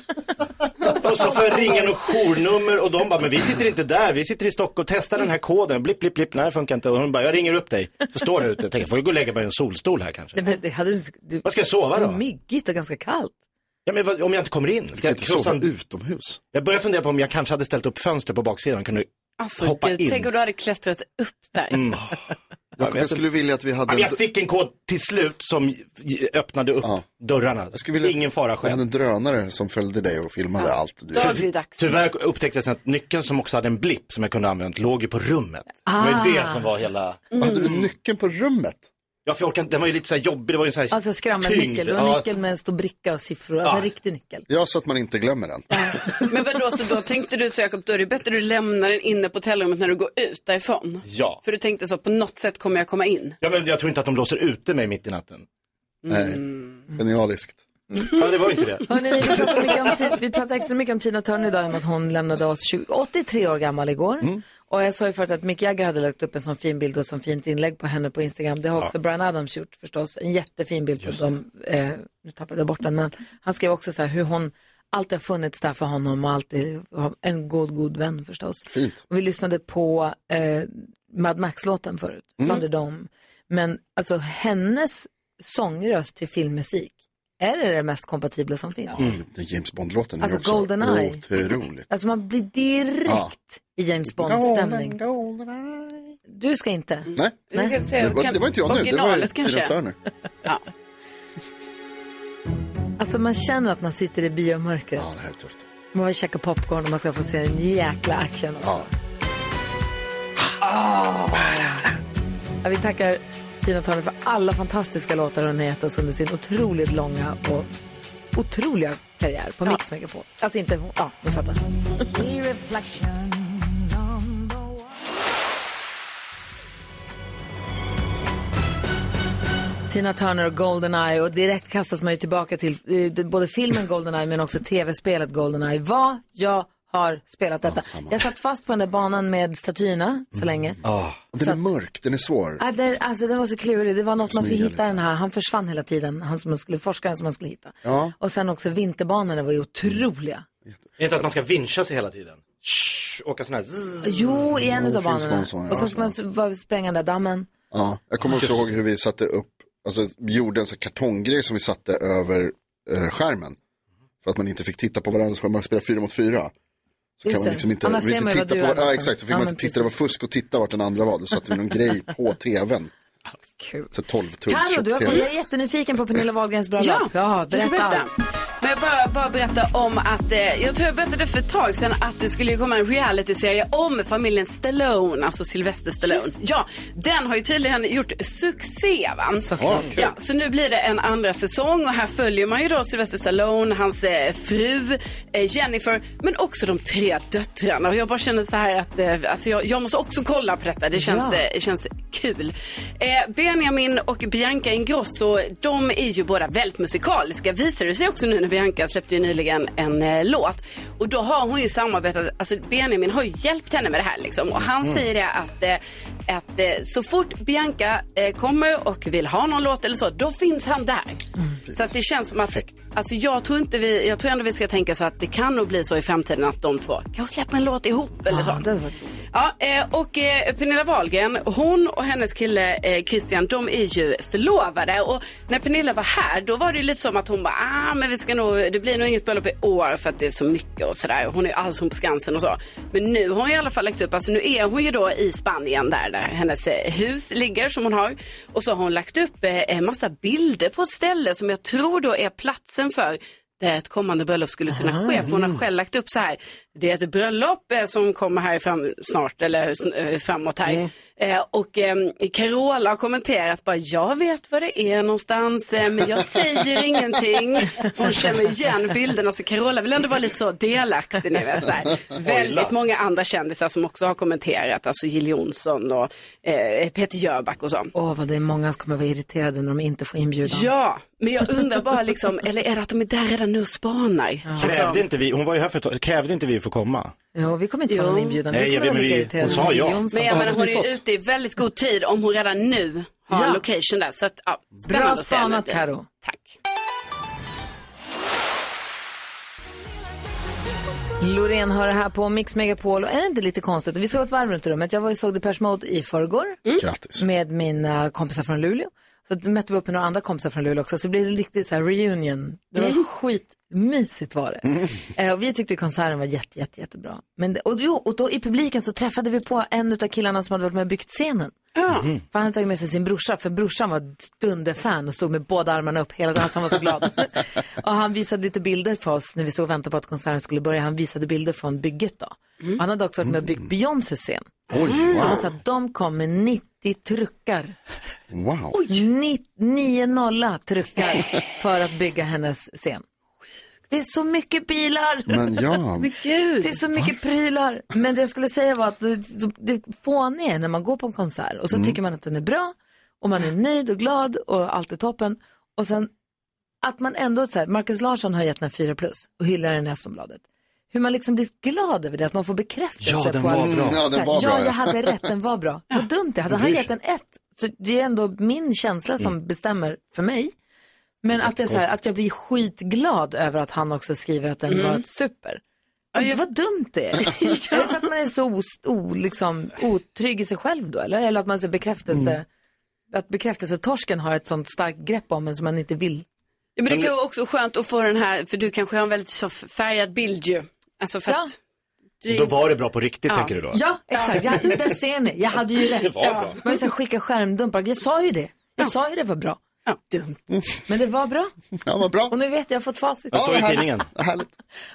Speaker 3: Och så får jag ringa något journummer och de bara, men vi sitter inte där, vi sitter i Stockholm, testa den här koden, blipp, blipp, blipp, nej funkar inte. Och hon bara, jag ringer upp dig. Så står det ute, jag tänker, får jag gå och lägga mig i en solstol här kanske?
Speaker 8: Nej, men det hade du... du
Speaker 3: Vad ska jag sova
Speaker 8: det
Speaker 3: då?
Speaker 8: är myggigt och ganska kallt.
Speaker 3: Ja, men vad, om jag inte kommer in? Ska
Speaker 4: Kan
Speaker 3: jag,
Speaker 4: inte sova
Speaker 3: krossa en...
Speaker 4: utomhus?
Speaker 3: jag börjar fundera på om jag kanske hade ställt upp fönster på baksidan, kunde
Speaker 5: Alltså,
Speaker 3: hoppa
Speaker 5: gud,
Speaker 3: in. Mm.
Speaker 5: tänk om du hade klättrat upp där.
Speaker 4: <laughs> Jag, jag skulle vilja att vi
Speaker 3: Ja,
Speaker 4: hade...
Speaker 3: men
Speaker 4: En,
Speaker 3: jag fick en kod till slut som j- öppnade upp
Speaker 4: Ja.
Speaker 3: dörrarna.
Speaker 4: jag skulle vilja
Speaker 3: Ingen fara
Speaker 4: Jag hade
Speaker 3: själv.
Speaker 4: en drönare som följde dig och filmade allt. Du,
Speaker 5: Då blir det dags.
Speaker 3: Tyvärr upptäcktes att nyckeln som också hade en blipp som jag kunde ha använt låg ju på rummet. Det var ju
Speaker 5: Ah.
Speaker 3: det som var hela...
Speaker 4: Hade du nyckeln på rummet?
Speaker 3: Ja, för jag orkade inte, den var ju lite så här jobbig, det var ju en sån här
Speaker 1: Alltså skrammelnyckel.
Speaker 3: tyngd.
Speaker 1: Det var en
Speaker 3: Ja, Ah.
Speaker 1: nyckel med en stor bricka och siffror. Alltså
Speaker 3: Ja.
Speaker 1: en riktig nyckel.
Speaker 4: Ja, så att man inte glömmer den.
Speaker 5: Men vadå, så då tänkte du så Jakob, då är det bättre du lämnar den inne på hotellrummet när du går ut därifrån?
Speaker 3: ja.
Speaker 5: För du tänkte så, på något sätt kommer jag komma in.
Speaker 3: ja, men jag tror inte att de låser ute mig mitt i natten.
Speaker 5: Mm.
Speaker 4: Nej, genialiskt.
Speaker 3: Ja, det var ju inte det.
Speaker 1: Hörrni, vi, pratar mycket om, Ti- vi pratar extra mycket om Tina Turner idag i och med att hon lämnade oss 20, 83 år gammal igår. Och jag sa ju förut att Mick Jagger hade lagt upp en sån fin bild och sån fint inlägg på henne på Instagram. Det har också Brian Adams gjort förstås. En jättefin bild på dem. Eh, nu tappade jag bort den, men han skrev också så här hur hon alltid har funnits där för honom och alltid har en god, god vän förstås.
Speaker 4: Fint.
Speaker 1: Och vi lyssnade på eh, Mad Max-låten förut,
Speaker 4: Mm.
Speaker 1: Thunderdome. Men alltså hennes sångröst till filmmusik är det det mest kompatibla som finns.
Speaker 4: Mm. Den James Bond-låten är
Speaker 1: Alltså,
Speaker 4: också
Speaker 1: Goldeneye.
Speaker 4: otroligt.
Speaker 1: Alltså man blir direkt
Speaker 4: Ja.
Speaker 1: i James Bond-stämning. Du ska inte.
Speaker 4: Nej,
Speaker 5: Vi ska se,
Speaker 4: det var,
Speaker 5: kan-
Speaker 4: det var inte jag nu. Det var
Speaker 5: originalet
Speaker 4: ju Tina
Speaker 5: kanske.
Speaker 4: Turner.
Speaker 1: <laughs> Alltså man känner att man sitter i biomörkret.
Speaker 4: Ja, det här är tufft.
Speaker 1: Man vill käka popcorn och man ska få se en jäkla action. Också.
Speaker 4: Ja.
Speaker 1: Ja, vi tackar Tina Turner för alla fantastiska låtar hon har gett oss under sin otroligt långa och otroliga karriär på Mix Megapol. Alltså inte, ja, ni fattar. Tina Turner och Goldeneye och direkt kastas man ju tillbaka till eh, det- både filmen Goldeneye men också tv-spelet Goldeneye. Vad jag har spelat detta. jag satt fast på den där banan med statyerna så länge.
Speaker 4: Och Den är mörk, den är svår.
Speaker 1: Ja, den, alltså, den var så klurig. Det var något man skulle
Speaker 4: smyga
Speaker 1: hitta
Speaker 4: lite.
Speaker 1: den här. Han försvann hela tiden. Han som man skulle, forskaren som man skulle hitta.
Speaker 4: Ja.
Speaker 1: Och sen också vinterbanorna var ju otroliga.
Speaker 3: Är det inte att man ska vincha sig hela tiden? Shh, åka sån här... zzz.
Speaker 1: Jo, i en
Speaker 4: det
Speaker 1: utav
Speaker 4: finns
Speaker 1: banorna.
Speaker 4: någon sån, ja,
Speaker 1: och sen ska man s- bara spränga den där dammen.
Speaker 4: Ja, jag kommer också ihåg hur vi satte upp, alltså gjorde en sån här kartonggrej som vi satte över eh, skärmen. För att man inte fick titta på varandra, så får man spela fyra mot fyra. Så
Speaker 1: Just
Speaker 4: kan
Speaker 1: det.
Speaker 4: man liksom inte,
Speaker 1: Annars ser
Speaker 4: inte
Speaker 1: man ju vad
Speaker 4: titta på,
Speaker 1: du är
Speaker 4: ja,
Speaker 1: någonstans.
Speaker 4: exakt, så fick
Speaker 1: Ja,
Speaker 4: man
Speaker 1: men
Speaker 4: inte titta, det var fusk och titta vart den andra var. Då satte vi någon grej
Speaker 1: <laughs>
Speaker 4: på tvn.
Speaker 1: Kul.
Speaker 4: Så 12 tums
Speaker 1: Carro, du har, jag
Speaker 4: tv.
Speaker 1: är jättenyfiken på Pernilla Wahlgrens bröllop.
Speaker 5: Ja,
Speaker 1: ja
Speaker 5: jag
Speaker 1: berätta,
Speaker 5: ska berätta.
Speaker 1: allt.
Speaker 5: Men jag bara, bara berätta om att, eh, jag tror jag berättade för ett tag sedan att det skulle ju komma en realityserie om familjen Stallone, alltså Sylvester Stallone. Ja, den har ju tydligen gjort succé va?
Speaker 1: Såklart.
Speaker 5: Ja, så nu blir det en andra säsong och här följer man ju då Sylvester Stallone, hans eh, fru eh, Jennifer, men också de tre döttrarna. Och jag bara känner så här att eh, alltså jag, jag måste också kolla på detta. Det känns,
Speaker 1: Ja.
Speaker 5: eh, det känns kul. Eh, Benjamin och Bianca Ingrosso, de är ju båda väldigt musikaliska. Visar det sig också nu när Bianca släppte ju nyligen en eh, låt. Och då har hon ju samarbetat, alltså Benjamin har ju hjälpt henne med det här liksom. Och han säger det att, eh, att eh, så fort Bianca eh, kommer och vill ha någon låt eller så, då finns han där. Så att det känns som att, alltså jag tror inte vi, jag tror ändå vi ska tänka så att det kan nog bli så i framtiden att de två kanske släpper en låt ihop eller
Speaker 1: Ja,
Speaker 5: så.
Speaker 1: det hade varit roligt.
Speaker 5: Ja, eh, och eh, Pernilla Wahlgren, hon och hennes kille eh, Christian, de är ju förlovade. Och när Pernilla var här, då var det ju lite som att hon bara, ah, men vi ska nog, det blir nog inget bröllop i år för att det är så mycket och sådär. Hon är ju alls hon på Skansen och så. Men nu har hon i alla fall lagt upp, alltså nu är hon ju då i Spanien där, där hennes eh, hus ligger som hon har. Och så har hon lagt upp eh, en massa bilder på ett ställe som jag tror då är platsen för där ett kommande bröllop skulle kunna ske. För hon har själv lagt upp så här, det är ett bröllop eh, som kommer här fram, snart eller eh, framåt här. Eh, och eh, Carola har kommenterat bara, jag vet var det är någonstans eh, men jag
Speaker 1: <laughs>
Speaker 5: säger ingenting. Hon känner igen bilderna så Carola vill ändå vara lite så delaktig. Ni vet, så här. Väldigt många andra kändisar som också har kommenterat, alltså Jill Johnson och eh, Peter Jöback och så.
Speaker 1: Åh, vad det är många som kommer vara irriterade när de inte får inbjudan.
Speaker 5: Ja, men jag undrar bara liksom, eller är det att de är där redan nu och spanar? Alltså-
Speaker 3: Krävde inte vi, hon var ju här för ett tag, krävde inte vi att få komma?
Speaker 1: Jo, vi kommer inte få
Speaker 5: Jo.
Speaker 1: någon inbjudan.
Speaker 3: Nej,
Speaker 1: vi
Speaker 3: jag
Speaker 1: kommer
Speaker 3: vet, men
Speaker 1: lika
Speaker 3: vi-
Speaker 1: irriterade
Speaker 3: hon sa
Speaker 1: som
Speaker 3: ja.
Speaker 1: Jill Johnson.
Speaker 5: Men jag menar,
Speaker 1: Hade
Speaker 5: hon
Speaker 1: vi
Speaker 5: är
Speaker 1: fått-
Speaker 5: ju ute i väldigt god tid om hon redan nu har
Speaker 1: Ja.
Speaker 5: en location där. Så att, ja, spännande
Speaker 1: Bra
Speaker 5: att se
Speaker 1: spanat,
Speaker 5: lite.
Speaker 1: Karo.
Speaker 5: Tack.
Speaker 1: Loreen har det här på Mix Megapol och är det inte lite konstigt? Vi ska vara ett varv runt i rummet. Jag var och såg Depeche Mode i förrgår
Speaker 4: Grattis.
Speaker 1: med mina kompisar från Luleå. Så att mötte vi upp med några andra kompisar från Luleå också. Så det blev riktigt så här reunion. Det var skitmysigt var det. Eh, och vi tyckte konserten var jätte, jätte, jättebra. Men, det- och, jo, och då i publiken så träffade vi på en av killarna som hade varit med och byggt scenen. För han hade tagit med sig sin brorsa, för brorsan var dunderfan och stod med båda armarna upp hela tiden, så han var så
Speaker 4: <laughs>
Speaker 1: glad. och han visade lite bilder för oss när vi stod och väntade på att konserten skulle börja. Han visade bilder från bygget då. Och Han hade också varit med och byggt Beyoncés scen.
Speaker 4: Mm. Oj,
Speaker 1: Och
Speaker 4: wow.
Speaker 1: han sa att de kom med 90 truckar.
Speaker 4: wow.
Speaker 1: Ni- 9-0 truckar för att bygga hennes scen. Det är så mycket bilar!
Speaker 4: Men
Speaker 1: <laughs>
Speaker 4: ja,
Speaker 1: Det är så mycket prylar. Men det jag skulle säga var att det, det fåniga är när man går på en konsert och så
Speaker 4: Mm.
Speaker 1: tycker man att den är bra och man är nöjd och glad och allt är toppen. Och sen att man ändå, så här, Marcus Larsson har gett den 4 plus och hyllar den i Aftonbladet. Hur man liksom blir glad över det, att man får bekräftelse.
Speaker 3: Ja, den
Speaker 1: på
Speaker 3: var
Speaker 1: att-
Speaker 3: bra.
Speaker 4: Mm, ja,
Speaker 1: så
Speaker 4: den
Speaker 1: här,
Speaker 4: var
Speaker 1: ja,
Speaker 4: bra.
Speaker 1: jag
Speaker 4: ja.
Speaker 1: hade rätt, den var bra. Vad dumt det Hade han gett den ett, så det är ändå min känsla
Speaker 5: Mm.
Speaker 1: som bestämmer för mig. Men att, det är så här, att jag blir skitglad över att han också skriver att den var ett super.
Speaker 5: Mm. jag-
Speaker 1: Vad dumt det
Speaker 5: <laughs>
Speaker 1: är. Är det för att man är så os, o, liksom, otrygg i sig själv då? Eller, eller att man ser bekräftelse,
Speaker 5: Mm.
Speaker 1: att bekräftelsetorsken har ett sånt starkt grepp om en som man inte vill.
Speaker 5: Ja, men det kan vara också skönt att få den här, för du kanske har en väldigt så färgad bild ju. Alltså för
Speaker 1: Ja.
Speaker 5: att du
Speaker 3: Då var det bra på riktigt, tänker du då?
Speaker 1: Ja, exakt. Jag, där ser ni. Jag
Speaker 5: <laughs>
Speaker 1: hade ju rätt. Man ska skicka skärmdumpar. Jag sa ju det. Jag sa ju det var bra.
Speaker 5: Ja. Mm.
Speaker 1: Dumt. Men det var bra.
Speaker 4: ja vad bra.
Speaker 1: Och nu vet jag, jag har fått facit.
Speaker 3: Det står i
Speaker 4: härligt.
Speaker 3: tidningen.
Speaker 4: Härligt.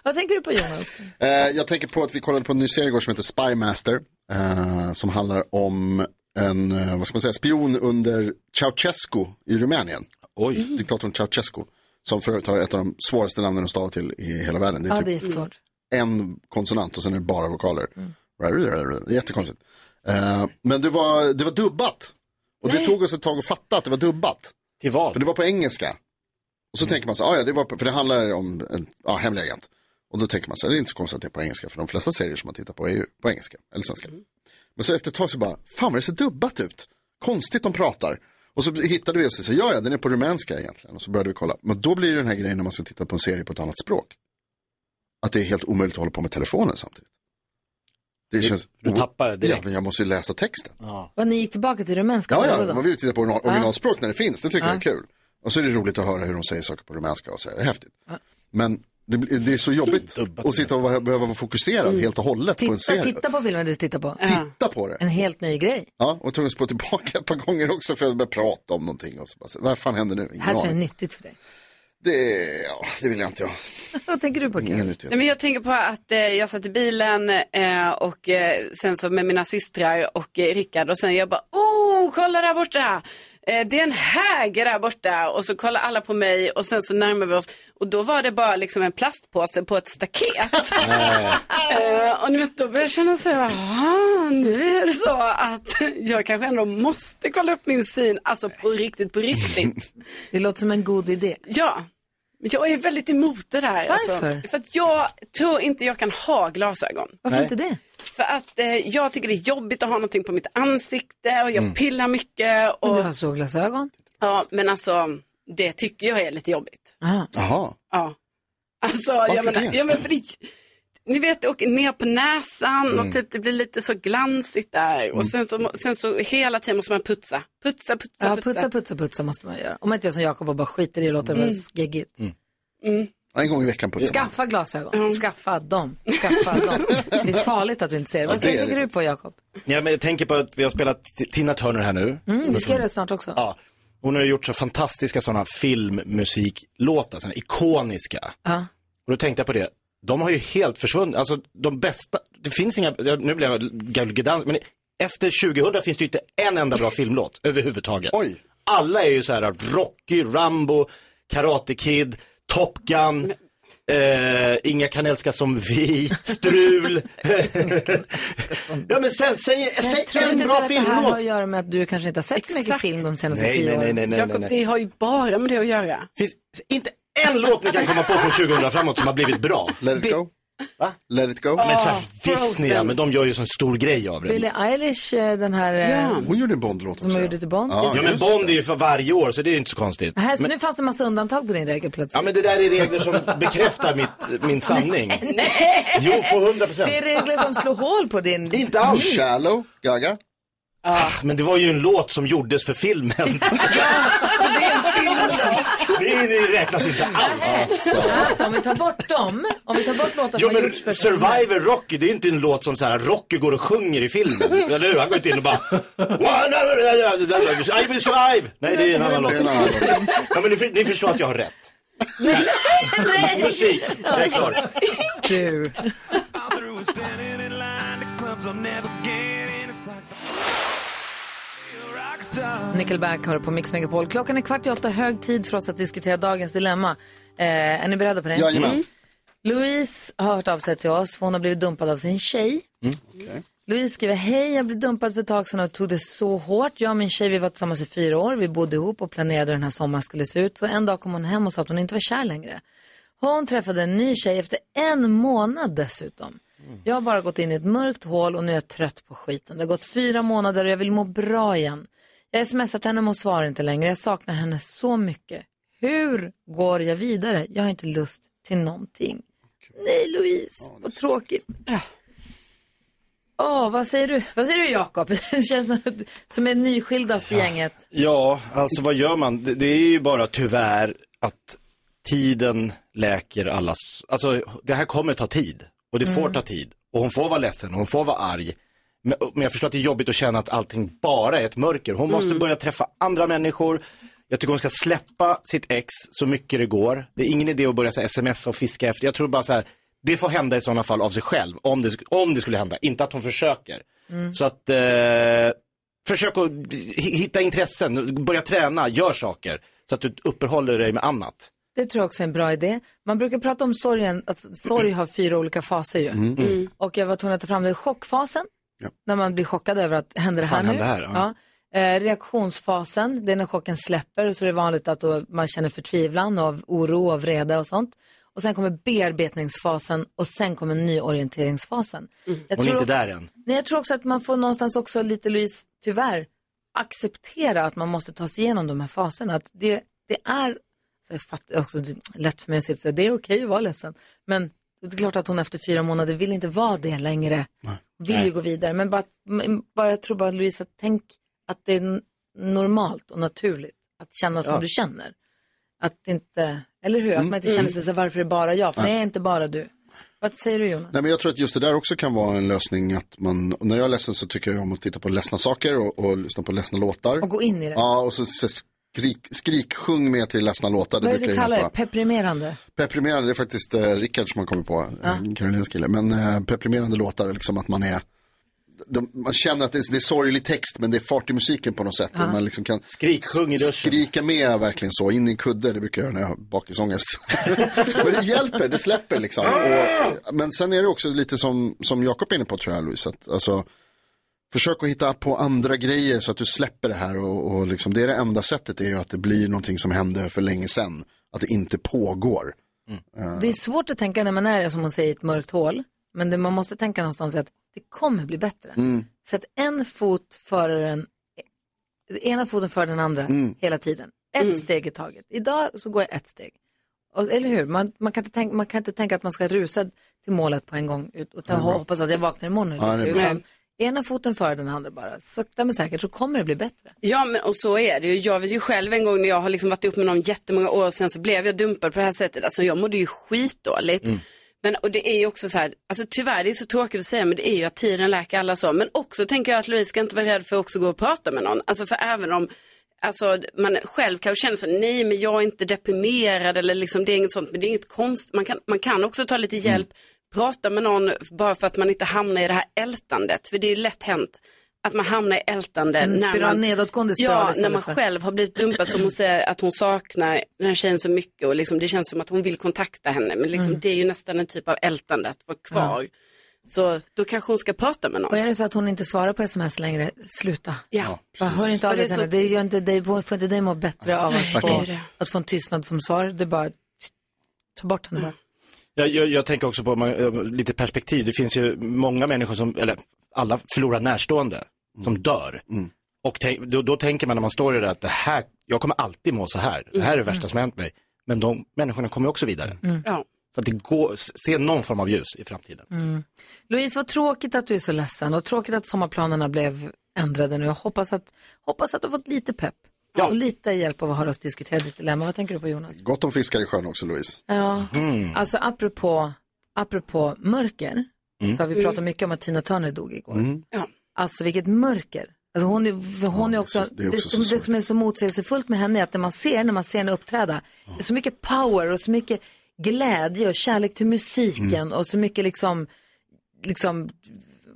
Speaker 1: Vad tänker du på Jonas?
Speaker 4: Eh, jag tänker på att vi kollade på en ny serie igår som heter Spymaster. Eh, som handlar om en, eh, vad ska man säga, spion under Ceausescu i Rumänien. Mm-hmm.
Speaker 3: Oj.
Speaker 4: Diktatorn Ceausescu. Som förut har ett av de svåraste namnen att stava till i hela världen. Det är
Speaker 1: Ja,
Speaker 4: typ
Speaker 1: det är svårt.
Speaker 4: en konsonant och sen är det bara vokaler. Mm. Jättekonstigt. Eh, men det var, det var dubbat. Och det tog oss ett tag att fatta att det var dubbat.
Speaker 3: Till val.
Speaker 4: För det var på engelska. Och så
Speaker 3: Mm.
Speaker 4: tänker man så här, "Ah, ja, det var på, för det handlar om en ja, hemlig agent. Och då tänker man så här, det är inte så konstigt att det är på engelska, för de flesta serier som man tittar på är ju på engelska, eller svenska.
Speaker 3: Mm.
Speaker 4: Men så efter ett tag så bara, fan vad det ser dubbat ut. Konstigt de pratar. Och så hittade vi oss och så här, ja, ja, den är på rumänska egentligen. Och så började vi kolla. Men då blir det den här grejen när man ska titta på en serie på ett annat språk. Att det är helt omöjligt att hålla på med telefonen samtidigt. Det känns...
Speaker 3: Du tappar det
Speaker 4: Ja,
Speaker 3: direkt.
Speaker 4: men jag måste ju läsa texten.
Speaker 1: Och ni gick tillbaka till rumänska?
Speaker 4: Ja,
Speaker 1: då,
Speaker 4: ja,
Speaker 1: då?
Speaker 4: man vill ju titta på original, originalspråk när det finns, det tycker jag är kul. Och så är det roligt att höra hur de säger saker på rumänska och så, det är häftigt. Men det, blir- det är så jobbigt
Speaker 3: Dubbat
Speaker 4: att sitta och vara- behöva vara fokuserad helt och hållet på en
Speaker 1: Mm. Titta,
Speaker 4: serie.
Speaker 1: titta på filmen du tittar på.
Speaker 4: Titta på det.
Speaker 1: En helt ny grej.
Speaker 4: Ja, och tvungen att spå tillbaka ett par gånger också för att börja prata om någonting. Och så bara, så, vad fan händer nu? Ingen
Speaker 1: Här tror jag
Speaker 4: aning.
Speaker 1: det är nyttigt för dig.
Speaker 4: det, ja, det vill jag inte jag.
Speaker 5: <laughs>
Speaker 1: Vad tänker du på Karo?
Speaker 4: Ingen
Speaker 5: Nej,
Speaker 4: nyttighet.
Speaker 5: men jag tänker på att eh, jag satt i bilen eh, och eh, sen så med mina systrar och eh, Rickard och sen jag bara, oh, kolla där borta! Eh, det är en häger där borta och så kollar alla på mig och sen så närmar vi oss och då var det bara liksom en plastpåse på ett staket. eh, och ni vet, då började jag känna så här, "Jaha, nu är det så att <laughs> jag kanske ändå måste kolla upp min syn, alltså på riktigt, på riktigt.
Speaker 1: <laughs> Det låter som en god idé.
Speaker 5: Ja, men jag är väldigt emot det där. alltså.
Speaker 1: Varför?
Speaker 5: För att jag tror inte jag kan ha glasögon.
Speaker 1: Varför
Speaker 3: Nej.
Speaker 1: inte det?
Speaker 5: För att eh, jag tycker det är jobbigt att ha någonting på mitt ansikte och jag
Speaker 3: Mm.
Speaker 5: pillar mycket. Och,
Speaker 1: Men du har solglasögon.
Speaker 5: Ja, men alltså det tycker jag är lite jobbigt.
Speaker 1: Aha.
Speaker 4: Jaha,
Speaker 5: Ja. Alltså, jag
Speaker 4: Varför
Speaker 5: menar,
Speaker 4: det?
Speaker 5: ja, men för det, ni vet, det åker ner på näsan
Speaker 3: Mm.
Speaker 5: och typ det blir lite så glansigt där. Och sen så, sen så hela tiden måste man putsa. Putsa, putsa,
Speaker 1: Ja,
Speaker 5: putsa.
Speaker 1: putsa, putsa, putsa måste man göra. Om inte jag som Jakob och bara skiter i det och låter det
Speaker 5: Mm.
Speaker 1: vara sgeggigt.
Speaker 4: Mm. en gång i veckan på
Speaker 1: Skaffa glasögon. Skaffa dem. Skaffa dem. Det är farligt att du inte ser det. Vad
Speaker 4: det är
Speaker 1: tänker
Speaker 4: det
Speaker 1: du på Jakob?
Speaker 3: Ja, men jag tänker på att vi har spelat T- Tina Turner här nu.
Speaker 1: Mm, vi ska göra det snart också.
Speaker 3: Ja. Hon har ju gjort så fantastiska sådana filmmusiklåtar, sådana ikoniska.
Speaker 1: Ja.
Speaker 3: Och då tänkte jag på det, de har ju helt försvunnit. Alltså de bästa, det finns inga, ja, nu blev jag galgedans, men efter 2000 finns det ju inte en enda bra filmlåt <laughs> överhuvudtaget.
Speaker 4: Oj.
Speaker 3: Alla är ju så här Rocky, Rambo, Karate Kid, Top Gun. Eh, Inga kan älska som vi, strul. <laughs> ja men sen, säg, säg
Speaker 1: Tror
Speaker 3: en
Speaker 1: inte du
Speaker 3: bra
Speaker 1: att det här har
Speaker 3: filmlåt.
Speaker 1: att göra med att du kanske inte har sett så mycket
Speaker 5: Exakt.
Speaker 1: film de senaste
Speaker 3: Nej,
Speaker 1: tio
Speaker 3: nej,
Speaker 1: åren?
Speaker 3: nej, nej, nej,
Speaker 5: Jakob,
Speaker 3: nej.
Speaker 5: det har ju bara med det att göra.
Speaker 3: finns inte en låt ni kan komma på från 2000 framåt som har blivit bra.
Speaker 4: Let it
Speaker 1: By-
Speaker 4: go. Let it go.
Speaker 3: Men så här, Disney, ja,
Speaker 8: Frozen.
Speaker 3: men de gör ju sån stor grej av det.
Speaker 1: Billie Eilish, eh, den här... eh,
Speaker 4: Hon gjorde en Bond-låt
Speaker 1: Som
Speaker 4: också.
Speaker 1: hon gjorde till Bond.
Speaker 4: Ja,
Speaker 3: Ja, men
Speaker 4: just
Speaker 3: Bond är ju för varje år, så det är ju inte så konstigt.
Speaker 1: Här, så
Speaker 3: Men,
Speaker 1: nu fanns det en massa undantag på din regel plötsligt.
Speaker 3: ja, men det där är regler som bekräftar mitt, min sanning. Jo, på 100 procent.
Speaker 1: Det är regler som slår hål på din... Alltså,
Speaker 3: Inte alls.
Speaker 4: Shallow, Gaga.
Speaker 3: Ah, Men det var ju en låt som gjordes för filmen. Det räknas inte alls.
Speaker 1: Alltså, om vi tar bort dem, om vi tar bort
Speaker 3: Jo
Speaker 1: låtar som har
Speaker 3: men
Speaker 1: gjorts för...
Speaker 3: Survivor Rocky, det är ju inte en låt som så här, Rocky går och sjunger i filmen. Eller hur? Han går inte in och bara I will survive. Nej det är en annan låt.
Speaker 4: Det är en annan låt.
Speaker 3: Ja, men ni, ni förstår att jag har rätt. <laughs> Musik, jag är klar.
Speaker 1: Du. Nickelback hör på Mix Megapol. Klockan är kvart i åtta, hög tid för oss att diskutera dagens dilemma. Eh, är ni beredda på det?
Speaker 4: Jajamän.
Speaker 1: Louise har hört av sig till oss för hon har blivit dumpad av sin tjej.
Speaker 5: Mm.
Speaker 1: Louise skriver, hej jag blev dumpad för ett tag sedan och tog det så hårt. Jag och min tjej vi var tillsammans i fyra år, vi bodde ihop och planerade hur den här sommaren skulle se ut. Så en dag kom hon hem och sa att hon inte var kär längre. Hon träffade en ny tjej efter en månad dessutom. Jag har bara gått in i ett mörkt hål och nu är jag trött på skiten. Det har gått fyra månader och jag vill må bra igen. Jag har smsat henne men hon svarar inte längre. Jag saknar henne så mycket. Hur går jag vidare? Jag har inte lust till någonting. Nej Louise, vad tråkigt. Ah. Åh, vad säger du? Vad säger du Jakob? <laughs> Det känns som, att- som är nyskildast i gänget.
Speaker 3: Ja, alltså vad gör man? Det, det är ju bara tyvärr att tiden läker alla... s- Alltså det här kommer ta tid och det får ta tid. Och hon får vara ledsen och hon får vara arg. Men, men jag förstår att det är jobbigt att känna att allting bara är ett mörker. Hon måste börja träffa andra människor. Jag tycker hon ska släppa sitt ex så mycket det går. Det är ingen idé att börja så här, smsa och fiska efter. Jag tror bara så här, det får hända i sådana fall av sig själv. Om det, sk- om det skulle hända, inte att hon försöker.
Speaker 1: Mm.
Speaker 3: Så att eh, Försök att h- hitta intressen, börja träna, gör saker så att du uppehåller dig med annat.
Speaker 1: Det tror jag också är en bra idé. Man brukar prata om sorgen, att sorg har fyra olika faser ju.
Speaker 3: Mm.
Speaker 1: Och jag var tvungen att ta fram det. Chockfasen, när man blir chockad över att händer det här
Speaker 3: Fan,
Speaker 1: nu?
Speaker 3: hände det här?
Speaker 1: ja.
Speaker 3: Ja.
Speaker 1: Eh, reaktionsfasen, det är när chocken släpper och så är det vanligt att då man känner förtvivlan av oro och vrede och sånt. Och sen kommer bearbetningsfasen och sen kommer nyorienteringsfasen. Jag
Speaker 3: Hon är
Speaker 1: tror
Speaker 3: inte
Speaker 1: också-
Speaker 3: där än.
Speaker 1: Nej, jag tror också att man får någonstans också lite, Louise, tyvärr, acceptera att man måste ta sig igenom de här faserna. Att det, det är, så jag fattar också, det är lätt för mig att sitta och säga, det är okej att vara ledsen. Men det är klart att hon efter fyra månader vill inte vara det längre. Hon Vill ju gå vidare. Men bara, att- men bara, jag tror bara, Louise, att tänk att det är n- normalt och naturligt att känna som du känner. Att inte, eller hur? Att man inte känner sig så här, varför är det bara jag? För det är inte bara du. Vad säger du Jonas?
Speaker 4: Nej, men jag tror att just det där också kan vara en lösning. Att man, när jag är ledsen så tycker jag om att titta på ledsna saker och, och lyssna på ledsna låtar.
Speaker 1: Och gå in i det.
Speaker 4: Ja, och så, så skrik, skriksjung med till ledsna låtar.
Speaker 1: Vad är det
Speaker 4: brukar
Speaker 1: du
Speaker 4: jag
Speaker 1: kallar det?
Speaker 4: hjälpa.
Speaker 1: Deprimerande?
Speaker 4: Peprimerande, det är faktiskt eh, Rickard som har kommit på, ja. Karolinas kille. Men eh, peprimerande låtar, liksom att man är, de, man känner att det är, det är sorglig text men det är fart i musiken på något sätt. Och man liksom kan
Speaker 3: Skrik, sjung i duschen.
Speaker 4: skrika med verkligen så, in i en kudde, det brukar jag göra när jag har
Speaker 3: <laughs>
Speaker 4: bakisångest. men det hjälper, det släpper liksom. Och, men sen är det också lite som, som Jakob är inne på tror jag Louise, att, alltså, Försök att hitta på andra grejer så att du släpper det här och, och liksom, det är det enda sättet är ju att det blir någonting som hände för länge sedan. Att det inte pågår.
Speaker 3: Mm.
Speaker 4: Eh,
Speaker 1: Det är svårt att tänka när man är, som hon säger, i ett mörkt hål. Men det, man måste tänka någonstans att det kommer bli bättre.
Speaker 3: Mm.
Speaker 1: Så att en fot före den, ena foten före den andra
Speaker 4: Mm.
Speaker 1: hela tiden. Ett steg i taget. Idag så går jag ett steg. Och, eller hur? Man, man, kan inte tänka, man kan inte tänka att man ska rusa till målet på en gång ut- och ta, hoppas att jag vaknar imorgon.
Speaker 4: Ja,
Speaker 1: eller
Speaker 4: det är
Speaker 5: bra.
Speaker 1: något, utan ena foten före den andra bara. Sakta men säkert så kommer det bli bättre.
Speaker 5: Ja, men och så är det ju. Jag vet ju själv en gång när jag har liksom varit ihop med någon jättemånga år och sen så blev jag dumpad på det här sättet. Alltså jag mådde ju skitdåligt.
Speaker 4: Mm.
Speaker 5: Men och det är ju också så här, alltså tyvärr det är så tråkigt att säga men det är ju att tiden läker alla så. Men också tänker jag att Louise ska inte vara rädd för att också gå och prata med någon. Alltså för även om Alltså man själv kanske känner sig, nej men jag är inte deprimerad eller liksom det är inget sånt, men det är inget konst. Man kan, man kan också ta lite
Speaker 1: Mm.
Speaker 5: hjälp, prata med någon bara för att man inte hamnar i det här ältandet. För det är ju lätt hänt att man hamnar i ältande.
Speaker 1: En spiral, Mm, nedåtgående spiral
Speaker 5: Ja, när
Speaker 1: istället
Speaker 5: man
Speaker 1: för-
Speaker 5: själv har blivit dumpad som hon säger att hon saknar den här tjejen så mycket och liksom, det känns som att hon vill kontakta henne. Men liksom, det är ju nästan en typ av ältande att vara kvar. Så då kanske hon ska prata med någon.
Speaker 1: Och är det så att hon inte svarar på sms längre, sluta.
Speaker 5: Ja.
Speaker 1: Bara, hör inte av
Speaker 5: Och det
Speaker 1: dig
Speaker 5: är
Speaker 1: till
Speaker 5: så-
Speaker 1: henne. Det gör inte dig, får inte dig må bättre av att få,
Speaker 5: det är det.
Speaker 1: att få en tystnad som svar. Det är bara, ta bort henne bara.
Speaker 3: Jag, jag, jag tänker också på man, eh, lite perspektiv. Det finns ju många människor som, eller alla förlorar närstående, som dör. Och tänk, då, då tänker man när man står i det att det här, jag kommer alltid må så här. Det här är
Speaker 1: Mm.
Speaker 3: det värsta som har hänt mig. Men de människorna kommer också vidare.
Speaker 5: Mm. Ja.
Speaker 3: Så att det går, se någon form av ljus i framtiden.
Speaker 1: Mm. Louise, vad tråkigt att du är så ledsen och tråkigt att sommarplanerna blev ändrade nu. Jag hoppas att, hoppas att du har fått lite pepp och lite hjälp av att höra oss diskutera ditt dilemma. Vad tänker du på Jonas?
Speaker 4: Gott om fiskar i sjön också Louise.
Speaker 1: Ja,
Speaker 3: Mm.
Speaker 1: alltså apropå, apropå mörker
Speaker 5: Mm.
Speaker 1: så har vi pratat mycket om att Tina Turner dog igår.
Speaker 4: Mm.
Speaker 5: Ja.
Speaker 1: Alltså vilket mörker. Alltså hon är, hon är också,
Speaker 4: så- det är också så
Speaker 1: det, det
Speaker 4: sorgligt.
Speaker 1: som är så motsägelsefullt med henne är att när man ser, när man ser henne uppträda, det är så mycket power och så mycket glädje och kärlek till musiken
Speaker 4: Mm.
Speaker 1: och så mycket liksom, liksom,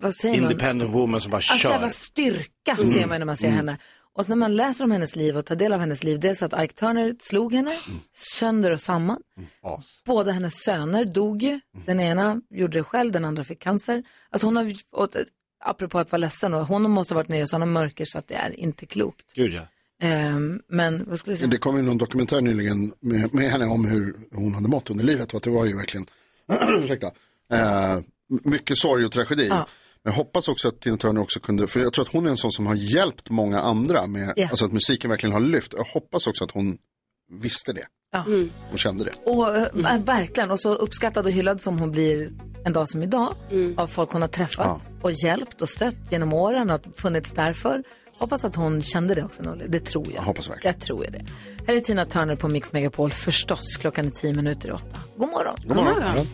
Speaker 1: vad säger man?
Speaker 3: Independent woman som bara
Speaker 1: Alltså
Speaker 3: kör.
Speaker 1: jävla styrka ser man när man ser henne. Och så när man läser om hennes liv och tar del av hennes liv, dels att Ike Turner slog henne sönder och samman. Båda hennes söner dog ju. Den ena gjorde det själv, den andra fick cancer. Alltså hon har, och, apropå att vara ledsen, och hon måste ha varit nere i sådana mörker så att det är inte klokt.
Speaker 3: Gud ja.
Speaker 1: Ehm, men vad skulle du säga?
Speaker 4: Det kom ju någon dokumentär nyligen med, med henne om hur hon hade mått under livet. Och att det var ju verkligen, <clears throat> ursäkta, eh, mycket sorg och tragedi. Men jag hoppas också att Tina Turner också kunde, för jag tror att hon är en sån som har hjälpt många andra med,
Speaker 1: Ja.
Speaker 4: alltså att musiken verkligen har lyft. Jag hoppas också att hon visste det.
Speaker 1: Ja.
Speaker 4: Och kände det.
Speaker 1: Och eh, verkligen, och så uppskattad och hyllad som hon blir en dag som idag
Speaker 4: Mm.
Speaker 1: av folk hon har träffat
Speaker 4: Ja.
Speaker 1: och hjälpt och stött genom åren och att funnits därför. Hoppas att hon kände det också, Nolly. Det tror jag.
Speaker 4: Jag hoppas verkligen.
Speaker 1: Jag tror ju det. Här är Tina Turner på Mix Megapol förstås. Klockan är tio minuter i åtta. God morgon.
Speaker 4: God morgon.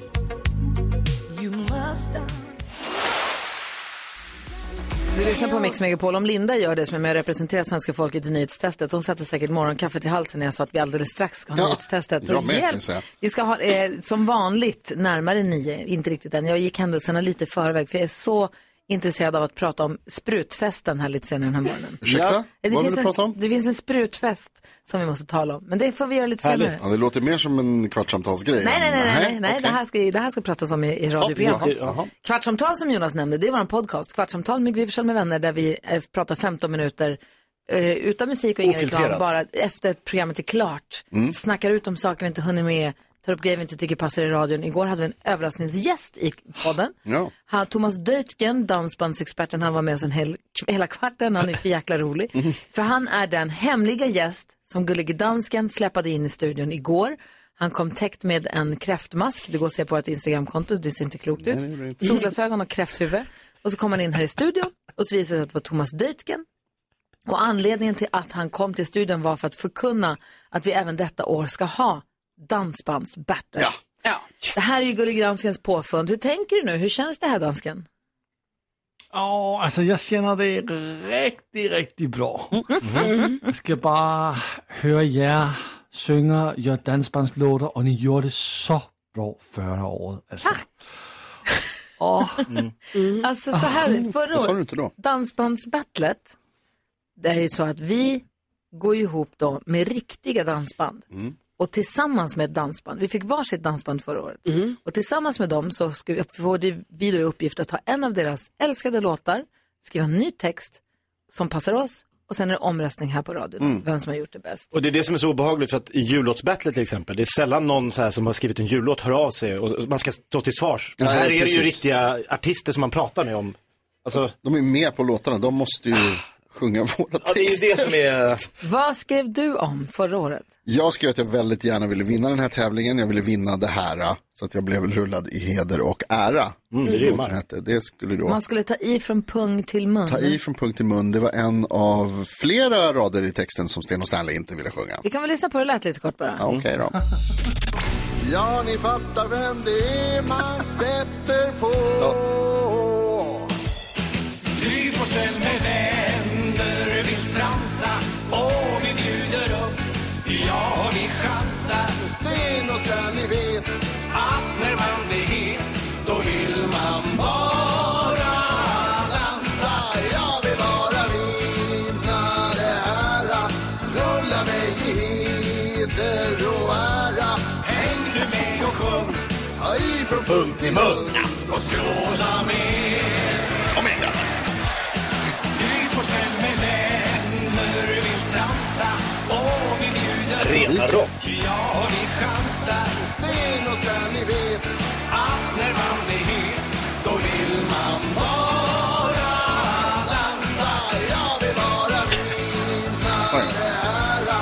Speaker 1: Du lyssnar på Mix Megapol. Om Linda gör det som är med och representerar svenska folket i nyhetstestet, hon sätter säkert morgonkaffet i halsen när jag sa att vi alldeles strax ska ha
Speaker 4: Ja,
Speaker 1: nyhetstestet.
Speaker 4: jag
Speaker 1: Och
Speaker 4: med, kan
Speaker 1: hjälp.
Speaker 4: jag säga.
Speaker 1: Vi ska ha eh, som vanligt närmare nio, inte riktigt än. Jag gick händelserna lite i förväg för jag är så intresserad av att prata om sprutfesten här lite senare den här morgonen. Eh,
Speaker 4: Ursäkta,
Speaker 1: Det
Speaker 4: vad vill
Speaker 1: finns
Speaker 4: du
Speaker 1: en,
Speaker 4: prata om?
Speaker 1: Det finns en sprutfest som vi måste tala om, men det får vi göra lite senare.
Speaker 4: Ja, det låter mer som en kvartssamtalsgrej.
Speaker 1: Nej, nej, nej, nej, nej, nej.
Speaker 4: okej.
Speaker 1: Det, här ska, ju- det här ska pratas om i, i radioprogram.
Speaker 4: Jaha, jaha.
Speaker 1: Kvartsamtal som Jonas nämnde, det är vår podcast. Kvartsamtal med Gry Forssell med vänner där vi eh, pratar 15 minuter eh, utan musik och ingen reklam.
Speaker 3: Ofiltrerat.
Speaker 1: Bara efter programmet är klart.
Speaker 4: Mm.
Speaker 5: Mm.
Speaker 1: Snackar ut om saker vi inte hunnit med. Tar upp grejer vi inte tycker passar i radion. Igår hade vi en överraskningsgäst i podden.
Speaker 4: Ja.
Speaker 1: Han, Thomas Deutgen, dansbandsexperten, han var med oss en hel, hela kvarten. Han är för jäkla rolig. För han är den hemliga gäst som Gullige Dansken släpade in i studion igår. Han kom täckt med en kräftmask. Det går att se på vårt Instagramkonto. Det ser inte klokt ut. Solglasögon och kräfthuvud. Och så kom han in här i studion och så visade det sig att det var Thomas Deutgen. Och anledningen till att han kom till studion var för att förkunna att vi även detta år ska ha dansbandsbattle.
Speaker 4: Ja.
Speaker 5: Ja.
Speaker 1: Det här är ju Gullig Danskens påfund. Hur tänker du nu? Hur känns det här dansken?
Speaker 7: Åh, alltså jag känner det riktigt, riktigt bra. Jag ska bara höra er sjunga, göra dansbandslåtar och ni gjorde det så bra förra året. Alltså. Tack!
Speaker 1: Alltså så här, förra
Speaker 4: Ah. Det sa du
Speaker 1: året,
Speaker 4: inte då.
Speaker 1: dansbandsbattlet, det är ju så att vi går ju ihop då med riktiga dansband
Speaker 4: Mm.
Speaker 1: och tillsammans med ett dansband. Vi fick varsitt dansband förra året och tillsammans med dem så ska vi, får det- vi då i uppgift att ta en av deras älskade låtar, skriva en ny text som passar oss och sen är det omröstning här på radion,
Speaker 4: Mm.
Speaker 1: vem som har gjort det bäst.
Speaker 3: Och det är det som är så obehagligt för att i jullåtsbattlet till exempel, det är sällan någon så här som har skrivit en jullåt hör av sig och man ska stå till svars. Men
Speaker 4: Nej,
Speaker 3: här är det ju
Speaker 4: precis.
Speaker 3: riktiga artister som man pratar med om. Alltså, Ah.
Speaker 4: De är med på låtarna, de måste ju sjunga våra
Speaker 3: ja, det är
Speaker 4: texter.
Speaker 3: ju det
Speaker 4: <laughs>
Speaker 3: som är...
Speaker 1: Vad skrev du om förra året?
Speaker 4: Jag skrev att jag väldigt gärna ville vinna den här tävlingen, jag ville vinna det här, äh, så att jag blev rullad i heder och ära.
Speaker 3: Mm, det
Speaker 4: Som
Speaker 3: rimmar.
Speaker 4: låten hette. Det skulle då
Speaker 1: Man skulle ta i från pung till mun.
Speaker 4: ta i från punkt till mun, det var en av flera rader i texten som Sten och Stanley inte ville
Speaker 3: Mm.
Speaker 4: sjunga.
Speaker 1: Vi kan väl lyssna på hur det lät lite kort bara.
Speaker 4: Ja, Okej
Speaker 3: <laughs>
Speaker 4: då. Ja, ni fattar vem det är man sätter på.
Speaker 10: Gry Forssell med vänner vill tramsa och vi bjuder upp, ja vi chansar
Speaker 4: Sten och Stanley vet
Speaker 10: att när man blir het, då vill man
Speaker 4: bara dansa. Jag vill bara vinna det här. Rulla mig i heder och ära.
Speaker 10: Häng nu med och sjung
Speaker 4: Ta i från punkt till mun.
Speaker 10: och skråla med Kom igen då! Gry Forssell med vänner vill tramsa och vi bjuder upp,
Speaker 3: Rena rock.
Speaker 10: ja vi
Speaker 6: chansar Sten och Strand, ni vet att när man blir het då vill man bara dansa Jag vill bara vinna med ära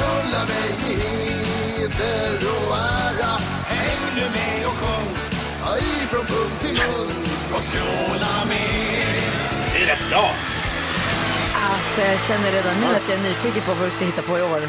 Speaker 6: Rulla mig i heder och ära Häng nu med och sjung Ta i från punkt till mun och skråla med Det är rätt bra!
Speaker 1: Alltså, jag känner redan nu att jag är nyfiken på vad du ska hitta på i år.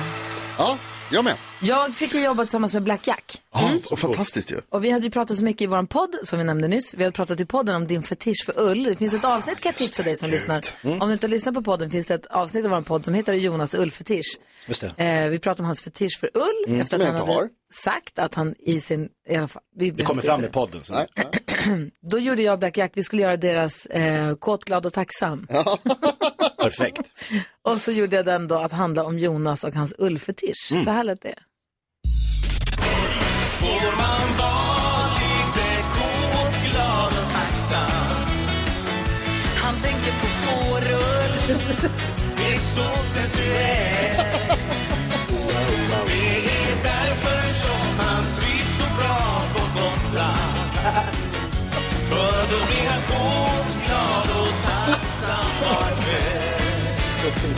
Speaker 4: Ja, jag med.
Speaker 1: Jag fick ju jobba tillsammans med Black Jack.
Speaker 4: Ja,
Speaker 3: Mm.
Speaker 4: och fantastiskt ju.
Speaker 1: Och vi hade ju pratat så mycket i vår podd, som vi nämnde nyss. Vi hade pratat i podden om din fetisch för ull. Det finns ett avsnitt kan jag tipsa dig som lyssnar.
Speaker 4: Mm.
Speaker 1: Om du inte har lyssnat på podden finns det ett avsnitt av vår podd som heter Jonas ullfetisch.
Speaker 3: Just det.
Speaker 1: Eh, vi pratade om hans fetisch för ull
Speaker 3: Mm,
Speaker 1: efter
Speaker 3: som
Speaker 1: att
Speaker 3: jag
Speaker 1: han
Speaker 3: inte
Speaker 1: hade
Speaker 3: har.
Speaker 1: sagt att han i sin... I alla fall, vi
Speaker 3: Det kommer fram i podden. Så.
Speaker 1: Då gjorde jag och Black Jack, vi skulle göra deras eh, Kåt, glad och tacksam.
Speaker 3: Perfekt.
Speaker 1: <laughs> Och så gjorde jag den då att handla om Jonas och hans ullfetisch.
Speaker 6: Mm.
Speaker 1: Så här lät det.
Speaker 6: Får man vara lite kåt, glad och tacksam Han tänker på fårull Det är så sensuellt Det är därför som han trivs så bra på Gotland För då blir han kåt, glad och tacksam var kväll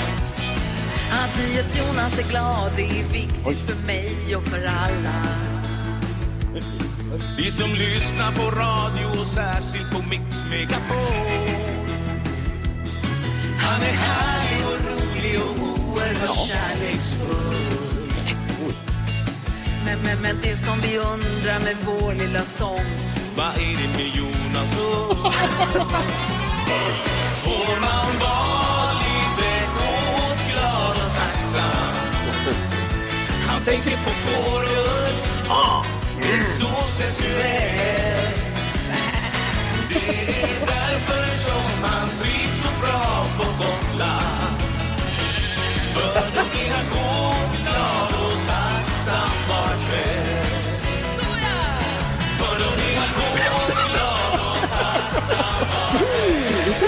Speaker 1: Att Jonas är glad, det är viktigt för mig och för alla.
Speaker 6: Ni som lyssnar på radio och särskilt på Mix Megapol Han är härlig och rolig och oerhört kärleksfull
Speaker 1: Men, men, men det som vi undrar med vår lilla sång <laughs>
Speaker 6: Vad är det med Jonas och Får man vara lite kåt, glad och tacksam Han tänker på fårull, ah, det är så sensuellt Det är därför som han trivs så bra på Gotland För då blir han kåt, glad och tacksam var kväll För då blir han kåt, glad och tacksam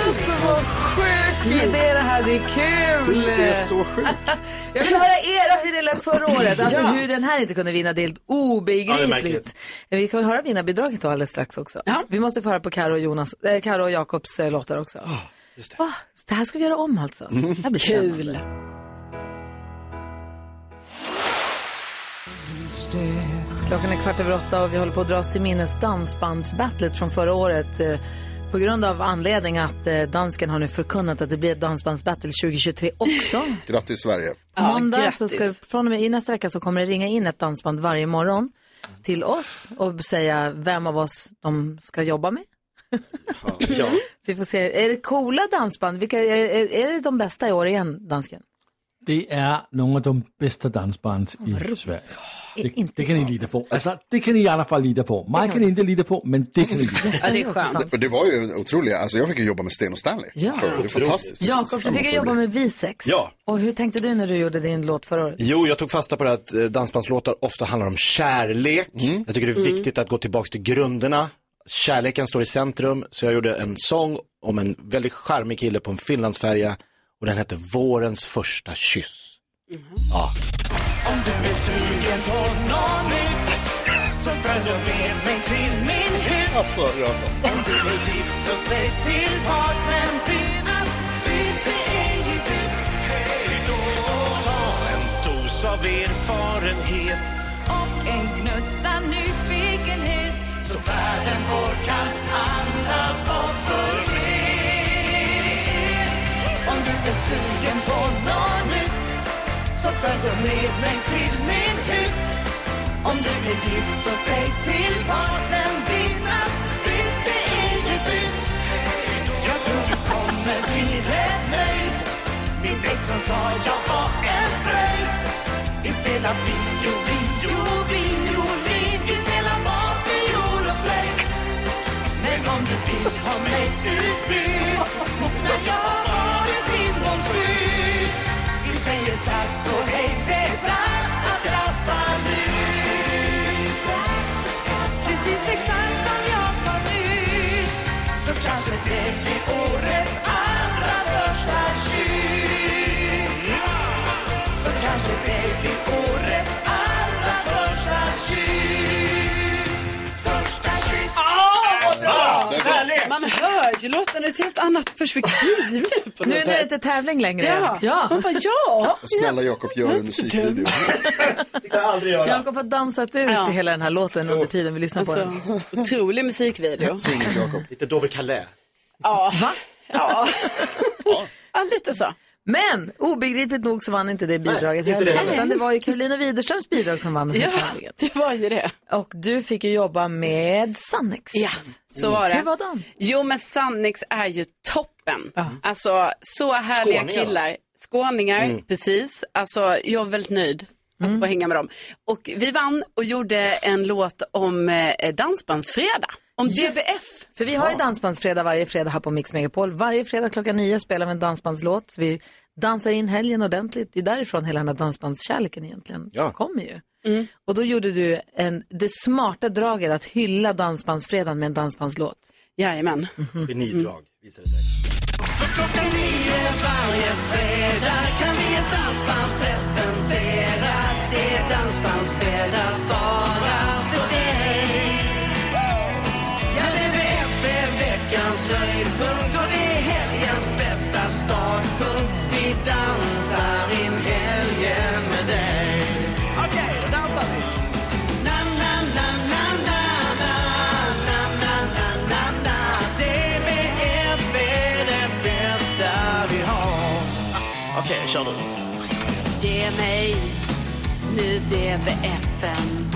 Speaker 1: Alltså vad sjukt! Det är det här, det är kul!
Speaker 6: Du är så
Speaker 4: sjuk.
Speaker 1: Jag vill höra era hur det lät förra året, alltså
Speaker 8: Ja.
Speaker 1: hur den här inte kunde vinna, det är helt
Speaker 8: Ja, det är
Speaker 1: obegripligt.
Speaker 8: märkligt.
Speaker 1: vi kan väl höra vinnarbidraget då alldeles strax också. Vi måste få höra på Karo och, Jonas, eh, Karo och Jakobs eh, låtar också. just det. det här ska vi göra om alltså.
Speaker 8: Mm.
Speaker 1: Det här blir kul. Klockan är kvart över åtta och vi håller på att dra oss till minnes dansbandsbattlet från förra året. eh, På grund av anledning att eh, dansken har nu förkunnat att det blir ett dansbandsbattle 2023 också.
Speaker 4: Grattis Sverige.
Speaker 1: På måndag så ska, från och med i nästa vecka så kommer det ringa in ett dansband varje morgon till oss och säga vem av oss de ska jobba med.
Speaker 3: Ja.
Speaker 1: Så vi får se, är det coola dansband? Vilka, är, är, är det de bästa i år igen, dansken?
Speaker 7: Det är nogle av de bedste dansband i Sverige. Det, det kan ni lide på. Altså, det kan ni i alla fall lide på. Mig kan ni inte lide på, men det kan ni lide på.
Speaker 1: Ja, det är skönt.
Speaker 4: Men Det var ju otroligt. Alltså jag fick ju jobba med Sten och Stanley.
Speaker 1: Ja.
Speaker 4: Förra året. Det är fantastiskt.
Speaker 1: Jakob, du fick ju jobba med Visex.
Speaker 3: Ja.
Speaker 1: Och hur tänkte du när du gjorde din låt förra året?
Speaker 3: Jo, jag tog fasta på det att eh, dansbandslåtar ofta handlar om kärlek. Jag tycker det är
Speaker 1: Mm.
Speaker 3: viktigt att gå tillbaka till grunderna. Kärleken står i centrum, så jag gjorde en sång om en väldigt charmig kille på en finlandsfärja och den hette Vårens första kyss. Ja.
Speaker 6: Om du är sugen på något nytt så följ och med mig till min hytt. Om du är gift så säg till partnern din att byte är ju bytt. Hej då. Ta en dos av erfarenhet och en gnutta nyfikenhet så världen vår kan andas och frihet. Om du är sugen på något nytt så följ då med mig till min hytt Om du är gift så säg till partnern din att byte är ju bytt Jag tror du kommer bli rätt nöjd Mitt ex som sa jag var en fröjd Vi spelar vio, vio, violin Vi spelar bas, fiol och flöjt Men om du vill ha mig utbytt När jag har varit din målskytt vi säger tack och hej, det är dags att skaffa nyss. Precis exakt som jag sa nyss. Så kanske det blir årets allra första kyss. Så kanske det blir årets allra första Ah, du låter nu ett helt annat perspektiv nu på något
Speaker 5: Nu är det
Speaker 6: sätt.
Speaker 5: inte tävling längre.
Speaker 6: Ja.
Speaker 5: ja.
Speaker 6: Man bara, ja.
Speaker 4: Snälla Jakob, gör en musikvideo.
Speaker 3: <laughs> Det kan jag aldrig
Speaker 5: Jakob har dansat ut
Speaker 6: Ja.
Speaker 5: i hela den här låten under tiden vi lyssnar på
Speaker 6: Alltså,
Speaker 5: den.
Speaker 6: otrolig musikvideo.
Speaker 4: Swingers Jakob.
Speaker 3: Lite Dover-Calais.
Speaker 6: Ja. Va? Ja. <laughs> ja, lite så.
Speaker 1: Men obegripligt nog så vann inte det bidraget
Speaker 3: inte det
Speaker 1: heller.
Speaker 3: heller.
Speaker 1: utan det var ju Karolina Widerströms bidrag som vann den här
Speaker 6: Ja,
Speaker 1: tävlingen.
Speaker 6: det var ju det.
Speaker 1: Och du fick ju jobba med Sannex. Mm.
Speaker 6: Ja, så var det.
Speaker 1: Hur var de?
Speaker 6: Jo, men Sannix är ju toppen. Alltså, så härliga
Speaker 3: Skåningar, va? Mm.
Speaker 6: killar. Skåningar, precis. Alltså, jag är väldigt nöjd att
Speaker 1: Mm.
Speaker 6: få hänga med dem. Och vi vann och gjorde en låt om eh, Dansbandsfredag. Om DBF.
Speaker 1: För vi har ju Dansbandsfredag varje fredag här på Mix Megapol. Varje fredag klockan nio spelar vi en dansbandslåt. Så vi dansar in helgen ordentligt. Det är därifrån hela den här dansbandskärleken egentligen
Speaker 3: Ja.
Speaker 1: kommer ju.
Speaker 6: Mm.
Speaker 1: Och då gjorde du en, det smarta draget att hylla Dansbandsfredagen med en dansbandslåt.
Speaker 6: Jajamän.
Speaker 1: Mhm.
Speaker 3: Genidrag, visar det sig.
Speaker 6: Ge mig nu DBFen.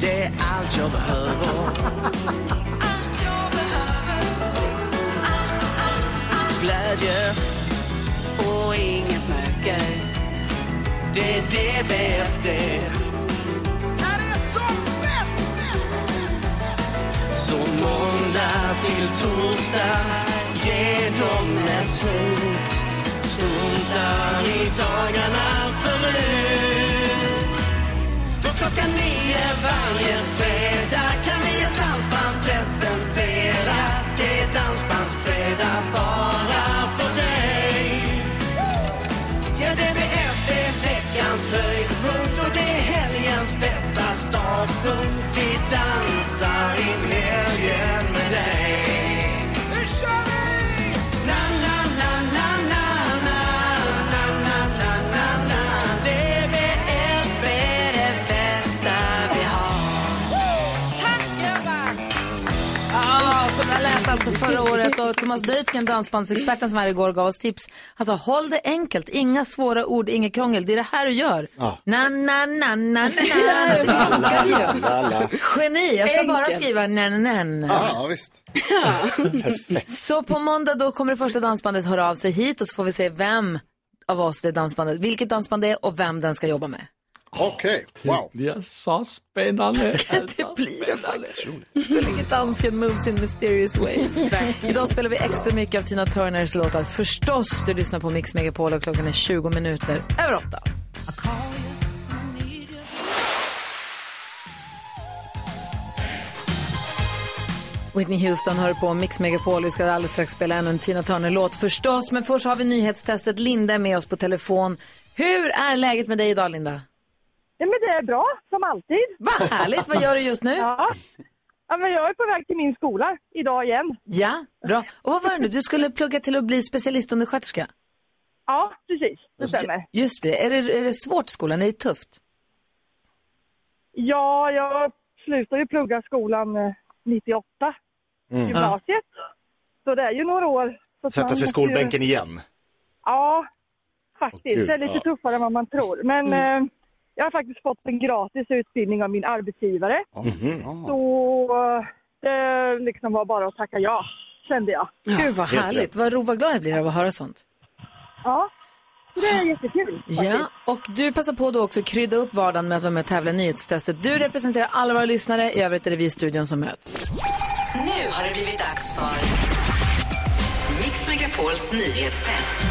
Speaker 6: Det är allt jag behöver. Allt jag behöver. Allt, allt, allt. Glädje. Och inget mörker. Det är DBF det. Så måndag till torsdag, ge dem ett slut. Struntar i dagarna förut. För klockan nio varje fredag kan vi ett dansband presentera. Det är dansbandsfredag bara för dig. Ja, DBF är veckans höjdpunkt och det är helgens bästa startpunkt. Vi dansar in helgen med dig. Nu kör vi! Na, na, na, na, na, na, na, na, na, na, na. DBF är det bästa vi har.
Speaker 1: Ja, som jag lät alltså förra året och Thomas Deutgen, dansbandsexperten som var här igår, gav oss tips. Alltså håll det enkelt, inga svåra ord, inget krångel. Det är det här du gör. Na, na, na, na, na. Det funkar ju. Geni, jag ska bara skriva na, na, na.
Speaker 4: Ah, Ja, visst.
Speaker 1: Så på måndag då kommer det första dansbandet höra av sig hit och så får vi se vem av oss det dansbandet, vilket dansband det är och vem den ska jobba med.
Speaker 4: Okej, wow.
Speaker 7: Det är så spännande.
Speaker 1: <laughs> Det blir det faktiskt. Då ligger dansken Moves in mysterious ways. <laughs> Idag spelar vi extra mycket av Tina Turners låtar förstås. Du lyssnar på Mix Megapol och klockan är 20 minuter över åtta. Whitney Houston hör på Mix Megapol. Vi ska alldeles strax spela ännu en Tina Turner-låt förstås. Men först har vi nyhetstestet. Linda är med oss på telefon. Hur är läget med dig idag, Linda?
Speaker 11: Ja, men det är bra, som alltid.
Speaker 1: Vad härligt! Vad gör du just nu?
Speaker 11: Ja. ja, men jag är på väg till min skola idag igen.
Speaker 1: Ja, bra. Och vad var det nu? Du skulle plugga till att bli specialistundersköterska?
Speaker 11: Ja, precis. Det stämmer.
Speaker 1: Just det. Är det, är det svårt skolan? Är det tufft?
Speaker 11: Ja, jag slutar ju plugga skolan eh, 98,
Speaker 4: Mm.
Speaker 1: Mm.
Speaker 11: gymnasiet. Så det är ju några år. Så att
Speaker 3: Sätta
Speaker 11: man
Speaker 3: sig i
Speaker 11: måste
Speaker 3: skolbänken
Speaker 11: Ju...
Speaker 3: igen.
Speaker 11: Ja, faktiskt.
Speaker 3: Åh, gud,
Speaker 11: det är lite
Speaker 3: ja. Mm.
Speaker 11: tuffare än vad man tror. Men eh, jag har faktiskt fått en gratis utbildning av min arbetsgivare.
Speaker 3: Mm-hmm.
Speaker 11: Så eh, det liksom var bara att tacka ja, kände jag.
Speaker 1: Gud vad
Speaker 3: helt
Speaker 1: härligt.
Speaker 3: rätt.
Speaker 1: Vad, ro, vad glad jag blir av att höra sånt.
Speaker 11: Ja, så det är jättekul.
Speaker 1: Ja, och du passar på då också att krydda upp vardagen med att vara med och tävla i nyhetstestet. Du representerar alla våra lyssnare. I övrigt är det vi i studion som möts.
Speaker 12: Nu har det blivit dags för Mix Megapols nyhetstest.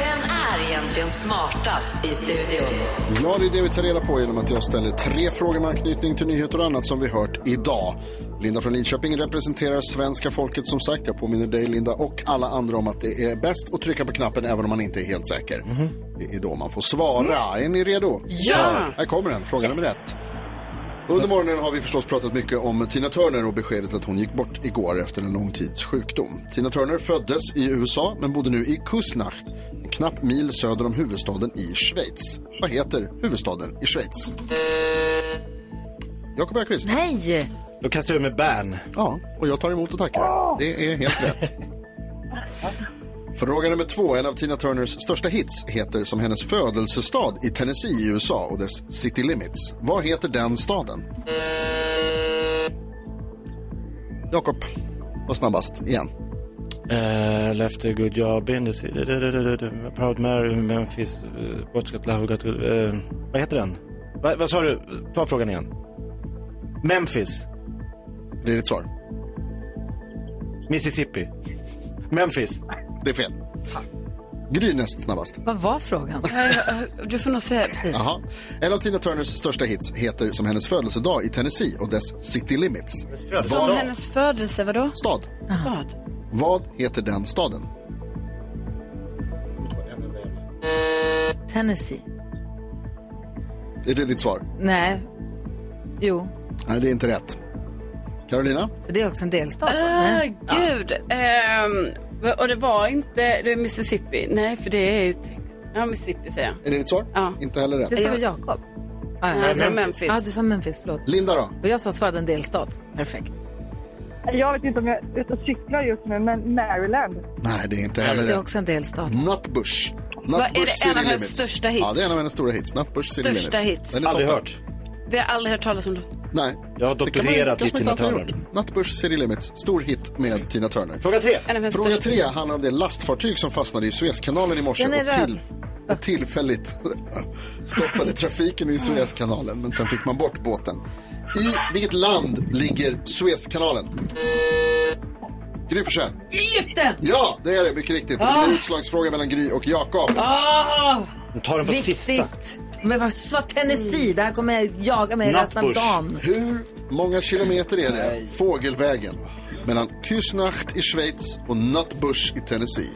Speaker 12: Vem är egentligen smartast i studion?
Speaker 4: Ja, det är det vi tar reda på genom att jag ställer tre frågor med anknytning till nyheter och annat som vi hört idag. Linda från Linköping representerar svenska folket som sagt. Jag påminner dig Linda och alla andra om att det är bäst att trycka på knappen även om man inte är helt säker. Det är då man får svara. Är ni redo?
Speaker 6: Ja!
Speaker 4: Här kommer den, fråga nummer ett. Under morgonen har vi förstås pratat mycket om Tina Turner och beskedet att hon gick bort igår efter en lång tids sjukdom. Tina Turner föddes i USA men bodde nu i Kusnacht, en knapp mil söder om huvudstaden i Schweiz. Vad heter huvudstaden i Schweiz? Jakob Öqvist.
Speaker 8: Nej!
Speaker 3: Då kastar jag med Bern.
Speaker 4: Ja, och jag tar emot och tackar. Det är helt rätt. Fråga nummer två. En av Tina Turners största hits heter som hennes födelsestad i Tennessee i USA och dess City Limits. Vad heter den staden? Jakob, var snabbast igen.
Speaker 3: Uh, left a good job in the city. Da, da, da, da, da. Proud Mary, Memphis, uh, what's got love, got good. eh, vad heter den? Va, vad sa du? Ta frågan igen. Memphis.
Speaker 4: Det är ditt svar.
Speaker 3: Mississippi. Memphis.
Speaker 4: Det är fel. Gry näst snabbast.
Speaker 8: Vad var
Speaker 5: <laughs>
Speaker 8: frågan?
Speaker 5: Du får nog säga precis.
Speaker 4: Jaha. En av Tina Turners största hits heter som hennes födelsedag i Tennessee och dess City Limits.
Speaker 5: Som
Speaker 4: Vad,
Speaker 5: hennes födelse, vadå?
Speaker 4: Stad.
Speaker 5: Stad.
Speaker 4: vad heter den staden?
Speaker 1: Tennessee.
Speaker 4: Är det ditt svar?
Speaker 1: Nej. Jo,
Speaker 4: Nej, det är inte rätt. Carolina?
Speaker 1: för det är också en delstat.
Speaker 5: Ah, gud. Ehm, och det var inte det är Mississippi. Nej, för det är... Ja, Mississippi säger jag.
Speaker 4: Är det ditt svar?
Speaker 5: Ja.
Speaker 4: Inte heller
Speaker 1: Det
Speaker 4: rätt.
Speaker 1: sa Jakob. Ah,
Speaker 5: Nej, jag sa Memphis.
Speaker 1: Ja, du sa Memphis, förlåt.
Speaker 4: Linda då?
Speaker 1: Och jag sa svarade en delstat. Perfekt.
Speaker 11: Jag vet inte om jag är ute och cyklar just nu, men Maryland.
Speaker 4: Nej, det är inte heller
Speaker 1: Det är
Speaker 4: rätt.
Speaker 1: också en delstat.
Speaker 4: Nutbush.
Speaker 5: Vad är det, en
Speaker 4: Nutbush
Speaker 5: av hennes största hits?
Speaker 4: Ja, det är en av hennes stora hits. Nutbush City Limits.
Speaker 5: Största hits.
Speaker 4: Den är
Speaker 3: Aldrig
Speaker 4: toppen.
Speaker 3: hört.
Speaker 5: Vi har aldrig hört talas om låten.
Speaker 4: Nej.
Speaker 3: Jag har
Speaker 4: Det kan man ju-
Speaker 3: doktorerat i
Speaker 4: kanske man inte
Speaker 3: Tina
Speaker 4: alltid
Speaker 3: Turner.
Speaker 4: har gjort. Nutbush City Limits. Stor hit med Tina Turner.
Speaker 3: Fråga tre.
Speaker 5: En av hennes
Speaker 4: Fråga
Speaker 5: största.
Speaker 4: tre handlar om det lastfartyg som fastnade i Suezkanalen i morse
Speaker 1: Den är
Speaker 4: och, till, och tillfälligt <laughs> stoppade trafiken i Suezkanalen. Men sen fick man bort båten. I vilket land ligger Suezkanalen? Gry Forssell.
Speaker 1: Egypten!
Speaker 4: Ja, det är det. Mycket riktigt. Och Det
Speaker 5: Ah.
Speaker 4: blir utslagsfråga mellan Gry och Jakob.
Speaker 1: Ah,
Speaker 3: De tar den på sista.
Speaker 1: viktigt! Men vad sa Tennessee? Det här kommer jag jaga mig resten av
Speaker 3: Nattbush.
Speaker 1: dagen.
Speaker 4: Hur många kilometer är det fågelvägen mellan Küsnacht i Schweiz och Nutbush i Tennessee?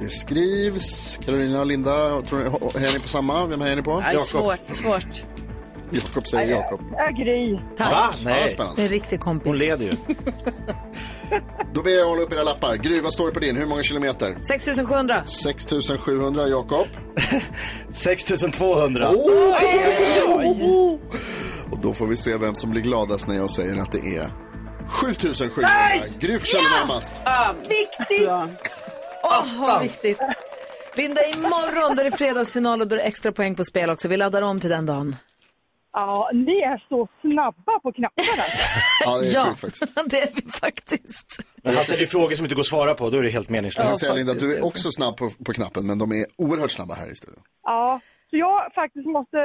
Speaker 4: Det skrivs. Carolina och Linda, tror ni, är ni på samma? Vem är ni på?
Speaker 5: Nej, svårt, svårt.
Speaker 4: Jakob säger Jakob.
Speaker 11: Äh, Gry.
Speaker 3: Va?
Speaker 4: Ja,
Speaker 3: Nej.
Speaker 1: Du är
Speaker 4: spännande.
Speaker 1: en riktig kompis.
Speaker 3: Hon leder ju.
Speaker 4: <laughs> Då ber jag er hålla upp era lappar. Gry, vad står det på din? Hur många kilometer?
Speaker 1: 6700.
Speaker 4: 6700 Jakob.
Speaker 3: 6200.
Speaker 4: Och då får vi se vem som blir gladast när jag säger att det är 7700. Gry Forssell är närmast.
Speaker 1: Viktigt! Åh, vad viktigt. Linda, imorgon då är det fredagsfinal och då är det extra poäng på spel också. Vi laddar om till den dagen.
Speaker 11: Ja, ni är så snabba på knapparna.
Speaker 4: <laughs> Ja, det är
Speaker 1: ja,
Speaker 4: sjukt faktiskt.
Speaker 1: det är vi faktiskt.
Speaker 3: Men han ställer ju Alltså, frågor som inte går att svara på, då är det helt meningslöst.
Speaker 4: Jag kan säga Linda, du är
Speaker 1: faktiskt.
Speaker 4: också snabb på, på knappen, men de är oerhört snabba här i studion.
Speaker 11: Ja, så jag faktiskt måste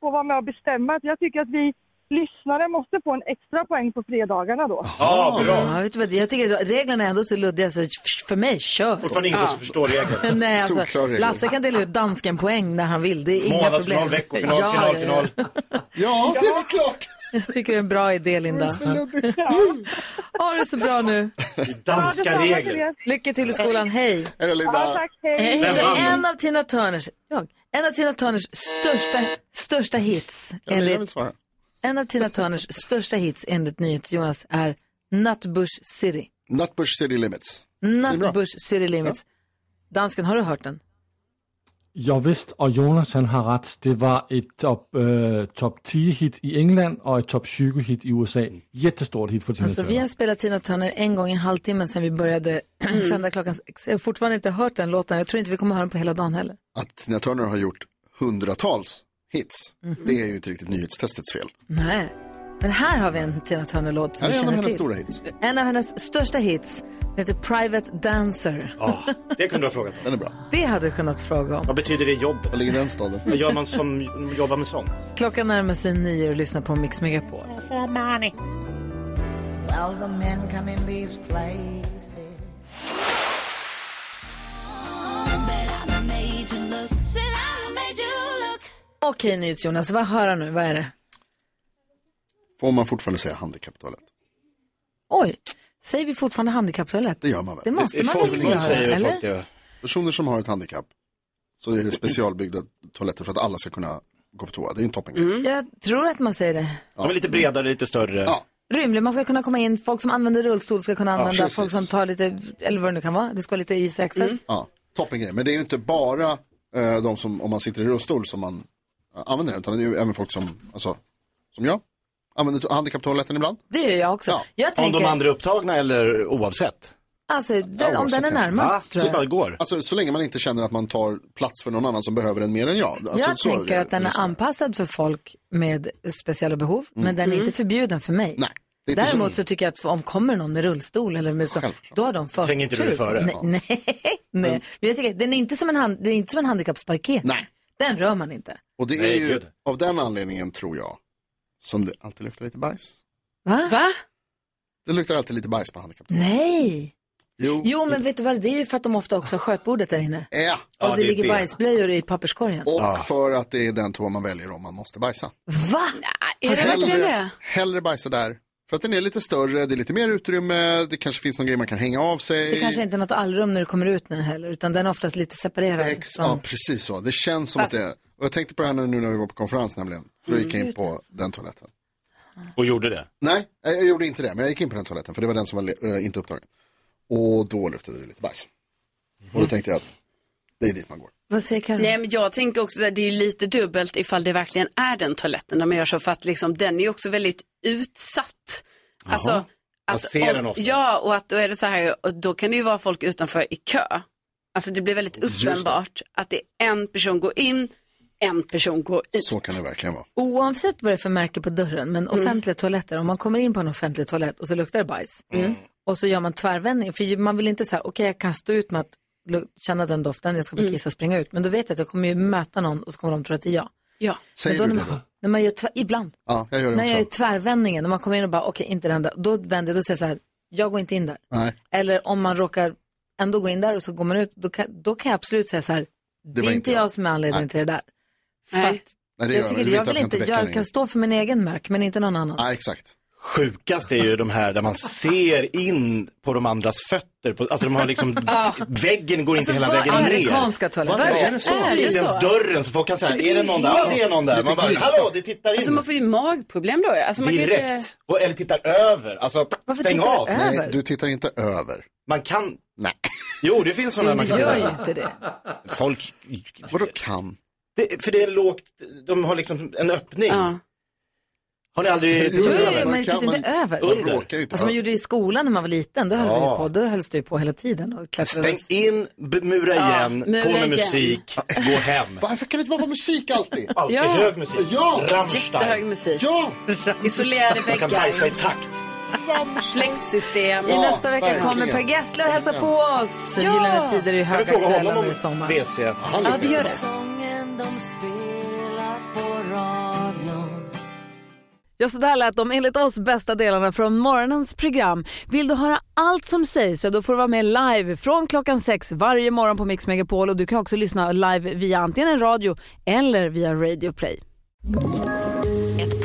Speaker 11: få vara med och bestämma. att Jag tycker att vi lyssnare måste få en extra poäng på fredagarna då.
Speaker 3: Ja, bra.
Speaker 1: Ja, vet du vad, jag tycker att reglerna är ändå så luddiga så för mig, kör.
Speaker 3: Fortfarande ingen som förstår regeln.
Speaker 1: <laughs> Nej,
Speaker 4: Solklar
Speaker 1: alltså,
Speaker 4: regel.
Speaker 1: Lasse kan dela ut dansken poäng när han vill. Det är inga
Speaker 3: Månadsfinal,
Speaker 1: problem.
Speaker 3: veckofinal,
Speaker 1: Ja,
Speaker 3: final,
Speaker 1: ja,
Speaker 3: final.
Speaker 4: Ja, det var klart!
Speaker 1: Jag tycker det är en bra idé, Linda. Ha det så bra nu.
Speaker 3: I danska regler.
Speaker 1: Lycka till i skolan. Hej.
Speaker 4: Eller
Speaker 11: Ja,
Speaker 4: Linda,
Speaker 11: tack. Hej.
Speaker 1: Så
Speaker 3: vann den?
Speaker 1: en av Tina Turners, jag, en av Tina Turners största, största hits
Speaker 4: jag vill
Speaker 1: enligt,
Speaker 4: svara.
Speaker 1: en av Tina Turners största hits enligt NyhetsJonas är Nutbush City.
Speaker 4: Nutbush City Limits.
Speaker 1: Nutbush City Limits. Dansken, har du hört den?
Speaker 7: Ja visst, og Jonas han har ret. Det var et top, øh, top 10 hit i England og et top 20 hit i USA. Jättestort hit for Tina
Speaker 1: Alltså, vi
Speaker 7: Turner.
Speaker 1: har spelat Tina Turner en gång i en halvtimme sedan vi började <clears throat>
Speaker 4: Mm.
Speaker 1: sända klockan sex. Jag har fortfarande inte hört den låten. Jag tror inte vi kommer höra den på hela dagen heller.
Speaker 4: Att Tina Turner har gjort hundratals hits, det är ju inte riktigt nyhetstestets fel.
Speaker 1: Nej. Men här har vi en Tina Turner-låt som
Speaker 4: Här
Speaker 1: vi
Speaker 4: är en av
Speaker 1: känner
Speaker 4: hennes
Speaker 1: till.
Speaker 4: stora hits.
Speaker 1: En av hennes största hits den heter Private Dancer.
Speaker 3: Ja, det kunde du ha frågat.
Speaker 4: Den är bra.
Speaker 1: Det hade du kunnat fråga om.
Speaker 3: Vad betyder det i jobbet?
Speaker 4: Var ligger den staden?
Speaker 3: Vad gör man som jobbar med sånt?
Speaker 1: Klockan närmar sig nio och lyssnar på Mix Megapol.
Speaker 5: Oh,
Speaker 1: Okej, NyhetsJonas, vad hör jag nu? Vad är det?
Speaker 4: Får man fortfarande säga handikapptoalett?
Speaker 1: Oj, säger vi fortfarande handikapptoalett?
Speaker 4: Det gör man väl?
Speaker 1: Det måste
Speaker 3: I
Speaker 1: man väl
Speaker 3: folkmun
Speaker 1: göra,
Speaker 3: säger folk
Speaker 1: eller?
Speaker 3: det.
Speaker 4: Personer som har ett handikapp så är det specialbyggda toaletter för att alla ska kunna gå på toa. Det är ju en toppen.
Speaker 1: Jag tror att man säger det.
Speaker 3: Mm. De är lite bredare, lite större.
Speaker 1: Rymlig, man ska kunna komma in, folk som använder rullstol ska kunna
Speaker 4: Ja,
Speaker 1: använda,
Speaker 4: precis.
Speaker 1: folk som tar lite, eller vad det nu kan vara, det ska vara lite easy access.
Speaker 3: Mm.
Speaker 4: Ja, toppen grej. Men det är ju inte bara eh, de som, om man sitter i rullstol som man eh, använder det, utan det är ju även folk som, alltså, som jag, använder to- handikapptoaletten ibland.
Speaker 1: Det gör jag också. Jag tänker,
Speaker 3: Om de andra är upptagna eller oavsett?
Speaker 1: alltså den, om den är närmast tror jag.
Speaker 3: går.
Speaker 4: Alltså, så länge man inte känner att man tar plats för någon annan som behöver en mer än jag. Alltså,
Speaker 1: jag
Speaker 4: så är
Speaker 1: tänker
Speaker 4: det. Mm.
Speaker 1: att den är anpassad för folk med speciella behov, men den är inte förbjuden för mig.
Speaker 4: det är inte
Speaker 1: Däremot
Speaker 4: så-
Speaker 1: så tycker jag att om kommer någon med rullstol eller med så, då har de förtur.
Speaker 3: Tränger inte du före?
Speaker 1: Nej, nej, <laughs> nej. Men jag tycker att den är inte som en, hand, den är inte som en handikappsparkering.
Speaker 4: Nej.
Speaker 1: Den rör man inte.
Speaker 4: Och det
Speaker 3: Nej,
Speaker 4: är ju
Speaker 3: gud.
Speaker 4: av den anledningen, tror jag, som det alltid luktar lite bajs.
Speaker 1: Va? Va?
Speaker 4: Det luktar alltid lite bajs på handikapp.
Speaker 1: Nej.
Speaker 4: Jo,
Speaker 1: Jo, men vet du vad, det är ju för att de ofta också har skötbordet där inne.
Speaker 4: Ja.
Speaker 1: Och det, ligger bajsblöjor i papperskorgen.
Speaker 4: Och för att det är den toa man väljer om man måste bajsa.
Speaker 1: Va?
Speaker 5: Är det verkligen det?
Speaker 4: hellre bajsa där. För att den är lite större, det är lite mer utrymme, det kanske finns någon grej man kan hänga av sig.
Speaker 1: Det kanske inte är något allrum när du kommer ut nu heller, utan den är oftast lite separerad.
Speaker 4: Ex-
Speaker 1: som-
Speaker 4: ja, precis så. Det känns som
Speaker 1: Fast-
Speaker 4: att det är. Och jag tänkte på det här nu när vi var på konferens nämligen. För då gick jag in på den toaletten.
Speaker 3: Och gjorde det?
Speaker 4: Nej, jag jag gjorde inte det, men jag gick in på den toaletten för det var den som var le- eh, inte upptagen. Och då luktade det lite bajs. Och
Speaker 3: Mm.
Speaker 4: då tänkte jag att det är dit man går.
Speaker 1: Vad säger Karin?
Speaker 5: Nej, men jag tänker också att det är lite dubbelt ifall det verkligen är den toaletten de gör så för att liksom, den är ju också väldigt utsatt.
Speaker 3: Jaha.
Speaker 5: Alltså,
Speaker 3: Man ser den ofta.
Speaker 5: Ja, och att då är det så här, och då kan det ju vara folk utanför i kö. Alltså det blir väldigt
Speaker 4: Just det.
Speaker 5: uppenbart att det är en person går in, en person går ut.
Speaker 4: Så kan det verkligen vara.
Speaker 1: Oavsett vad det är för märke på dörren, men offentliga toaletter, om man kommer in på en offentlig toalett och så luktar det bajs och så gör man tvärvändning, för ju- man vill inte så här, okej jag kan stå ut med att lu- känna den doften, jag ska bli kissa och springa ut, men då vet jag att jag kommer ju möta någon och så kommer de tro att det är jag.
Speaker 5: Ja.
Speaker 4: Säger
Speaker 1: men
Speaker 4: du
Speaker 1: då,
Speaker 4: det då?
Speaker 1: När man gör tvär, ibland.
Speaker 4: Ja, jag gör det
Speaker 1: när jag
Speaker 4: också.
Speaker 1: gör tvärvändningen, när man kommer in och bara, okej inte den där, då vänder jag, då säger jag så här, jag går inte in där.
Speaker 4: Nej,
Speaker 1: Eller om man råkar ändå gå in där och så går man ut, då kan, då kan jag absolut säga så här, det,
Speaker 4: var
Speaker 1: är
Speaker 4: inte
Speaker 1: inte jag som är anledningen
Speaker 4: Nej.
Speaker 1: till det där. För
Speaker 5: Nej.
Speaker 1: att
Speaker 4: Nej det gör
Speaker 1: jag, tycker, jag, vill inte,
Speaker 4: väcka
Speaker 1: jag
Speaker 4: någon.
Speaker 1: kan stå för min egen mörk, men inte någon
Speaker 3: Ah.
Speaker 1: annans.
Speaker 4: Ja, exakt.
Speaker 3: Sjukast är ju de här där man ser in på de andras fötter. På, alltså de har liksom, väggen går
Speaker 1: Alltså,
Speaker 3: inte hela vägen ner.
Speaker 1: Amerikanska toaletter.
Speaker 3: Varför
Speaker 5: Varför
Speaker 3: är det så?
Speaker 5: är det
Speaker 3: Inte ens
Speaker 5: så?
Speaker 3: dörren så folk kan säga, är det någon där? Ja, det är någon där. Man bara, hallå, det tittar in.
Speaker 5: Alltså man får ju magproblem då. Alltså, man Kan ju inte...
Speaker 3: Direkt. Och, eller tittar över. Alltså,
Speaker 1: Varför
Speaker 3: stäng
Speaker 1: tittar du
Speaker 3: av.
Speaker 1: över?
Speaker 4: Nej, du tittar inte över.
Speaker 3: Man kan,
Speaker 4: Nej.
Speaker 3: jo det finns sådana man
Speaker 1: Det
Speaker 3: kan
Speaker 1: gör ju
Speaker 3: göra.
Speaker 1: inte det.
Speaker 3: Folk,
Speaker 4: Vadå kan?
Speaker 3: det, för det är lågt, de har liksom en öppning.
Speaker 5: Ja.
Speaker 3: Har ni aldrig
Speaker 4: Jo,
Speaker 1: Då
Speaker 3: tittat
Speaker 1: är
Speaker 3: över?
Speaker 1: ju-
Speaker 4: man
Speaker 1: man
Speaker 4: kan-
Speaker 1: tittar inte
Speaker 4: man-
Speaker 1: över.
Speaker 4: Man
Speaker 3: Under.
Speaker 4: råkar ju inte.
Speaker 1: Alltså man gjorde det i skolan när man var liten, då höll man ju på, då hölls det ju på hela tiden och
Speaker 3: Stäng
Speaker 1: klättrades.
Speaker 3: in, b- mura igen,
Speaker 5: mura
Speaker 3: på med
Speaker 5: igen. <laughs>
Speaker 3: musik, gå hem.
Speaker 4: Varför kan det inte vara på musik
Speaker 1: <laughs>
Speaker 4: alltid?
Speaker 3: Alltid
Speaker 5: Ja.
Speaker 3: hög musik.
Speaker 4: Ja.
Speaker 5: Jättehög
Speaker 3: Rammstein.
Speaker 5: musik.
Speaker 4: Ja!
Speaker 5: Isolerade
Speaker 3: Man kan bajsa i
Speaker 5: väggar.
Speaker 3: takt.
Speaker 5: Fläktsystem.
Speaker 1: I nästa vecka
Speaker 4: verkligen.
Speaker 1: kommer Per Gessle och hälsar på oss. Gyllene tider är ju
Speaker 3: Kan du fråga
Speaker 1: högaktuella
Speaker 3: honom
Speaker 1: nu
Speaker 3: om
Speaker 1: i sommar.
Speaker 3: WC?
Speaker 1: Ja, vi gör det. Ja, så där lät de enligt oss bästa delarna från morgonens program. Vill du höra allt som sägs så då får du vara med live från klockan sex varje morgon på Mix Megapol och du kan också lyssna live via antingen en radio eller via Radio Play.
Speaker 2: Ett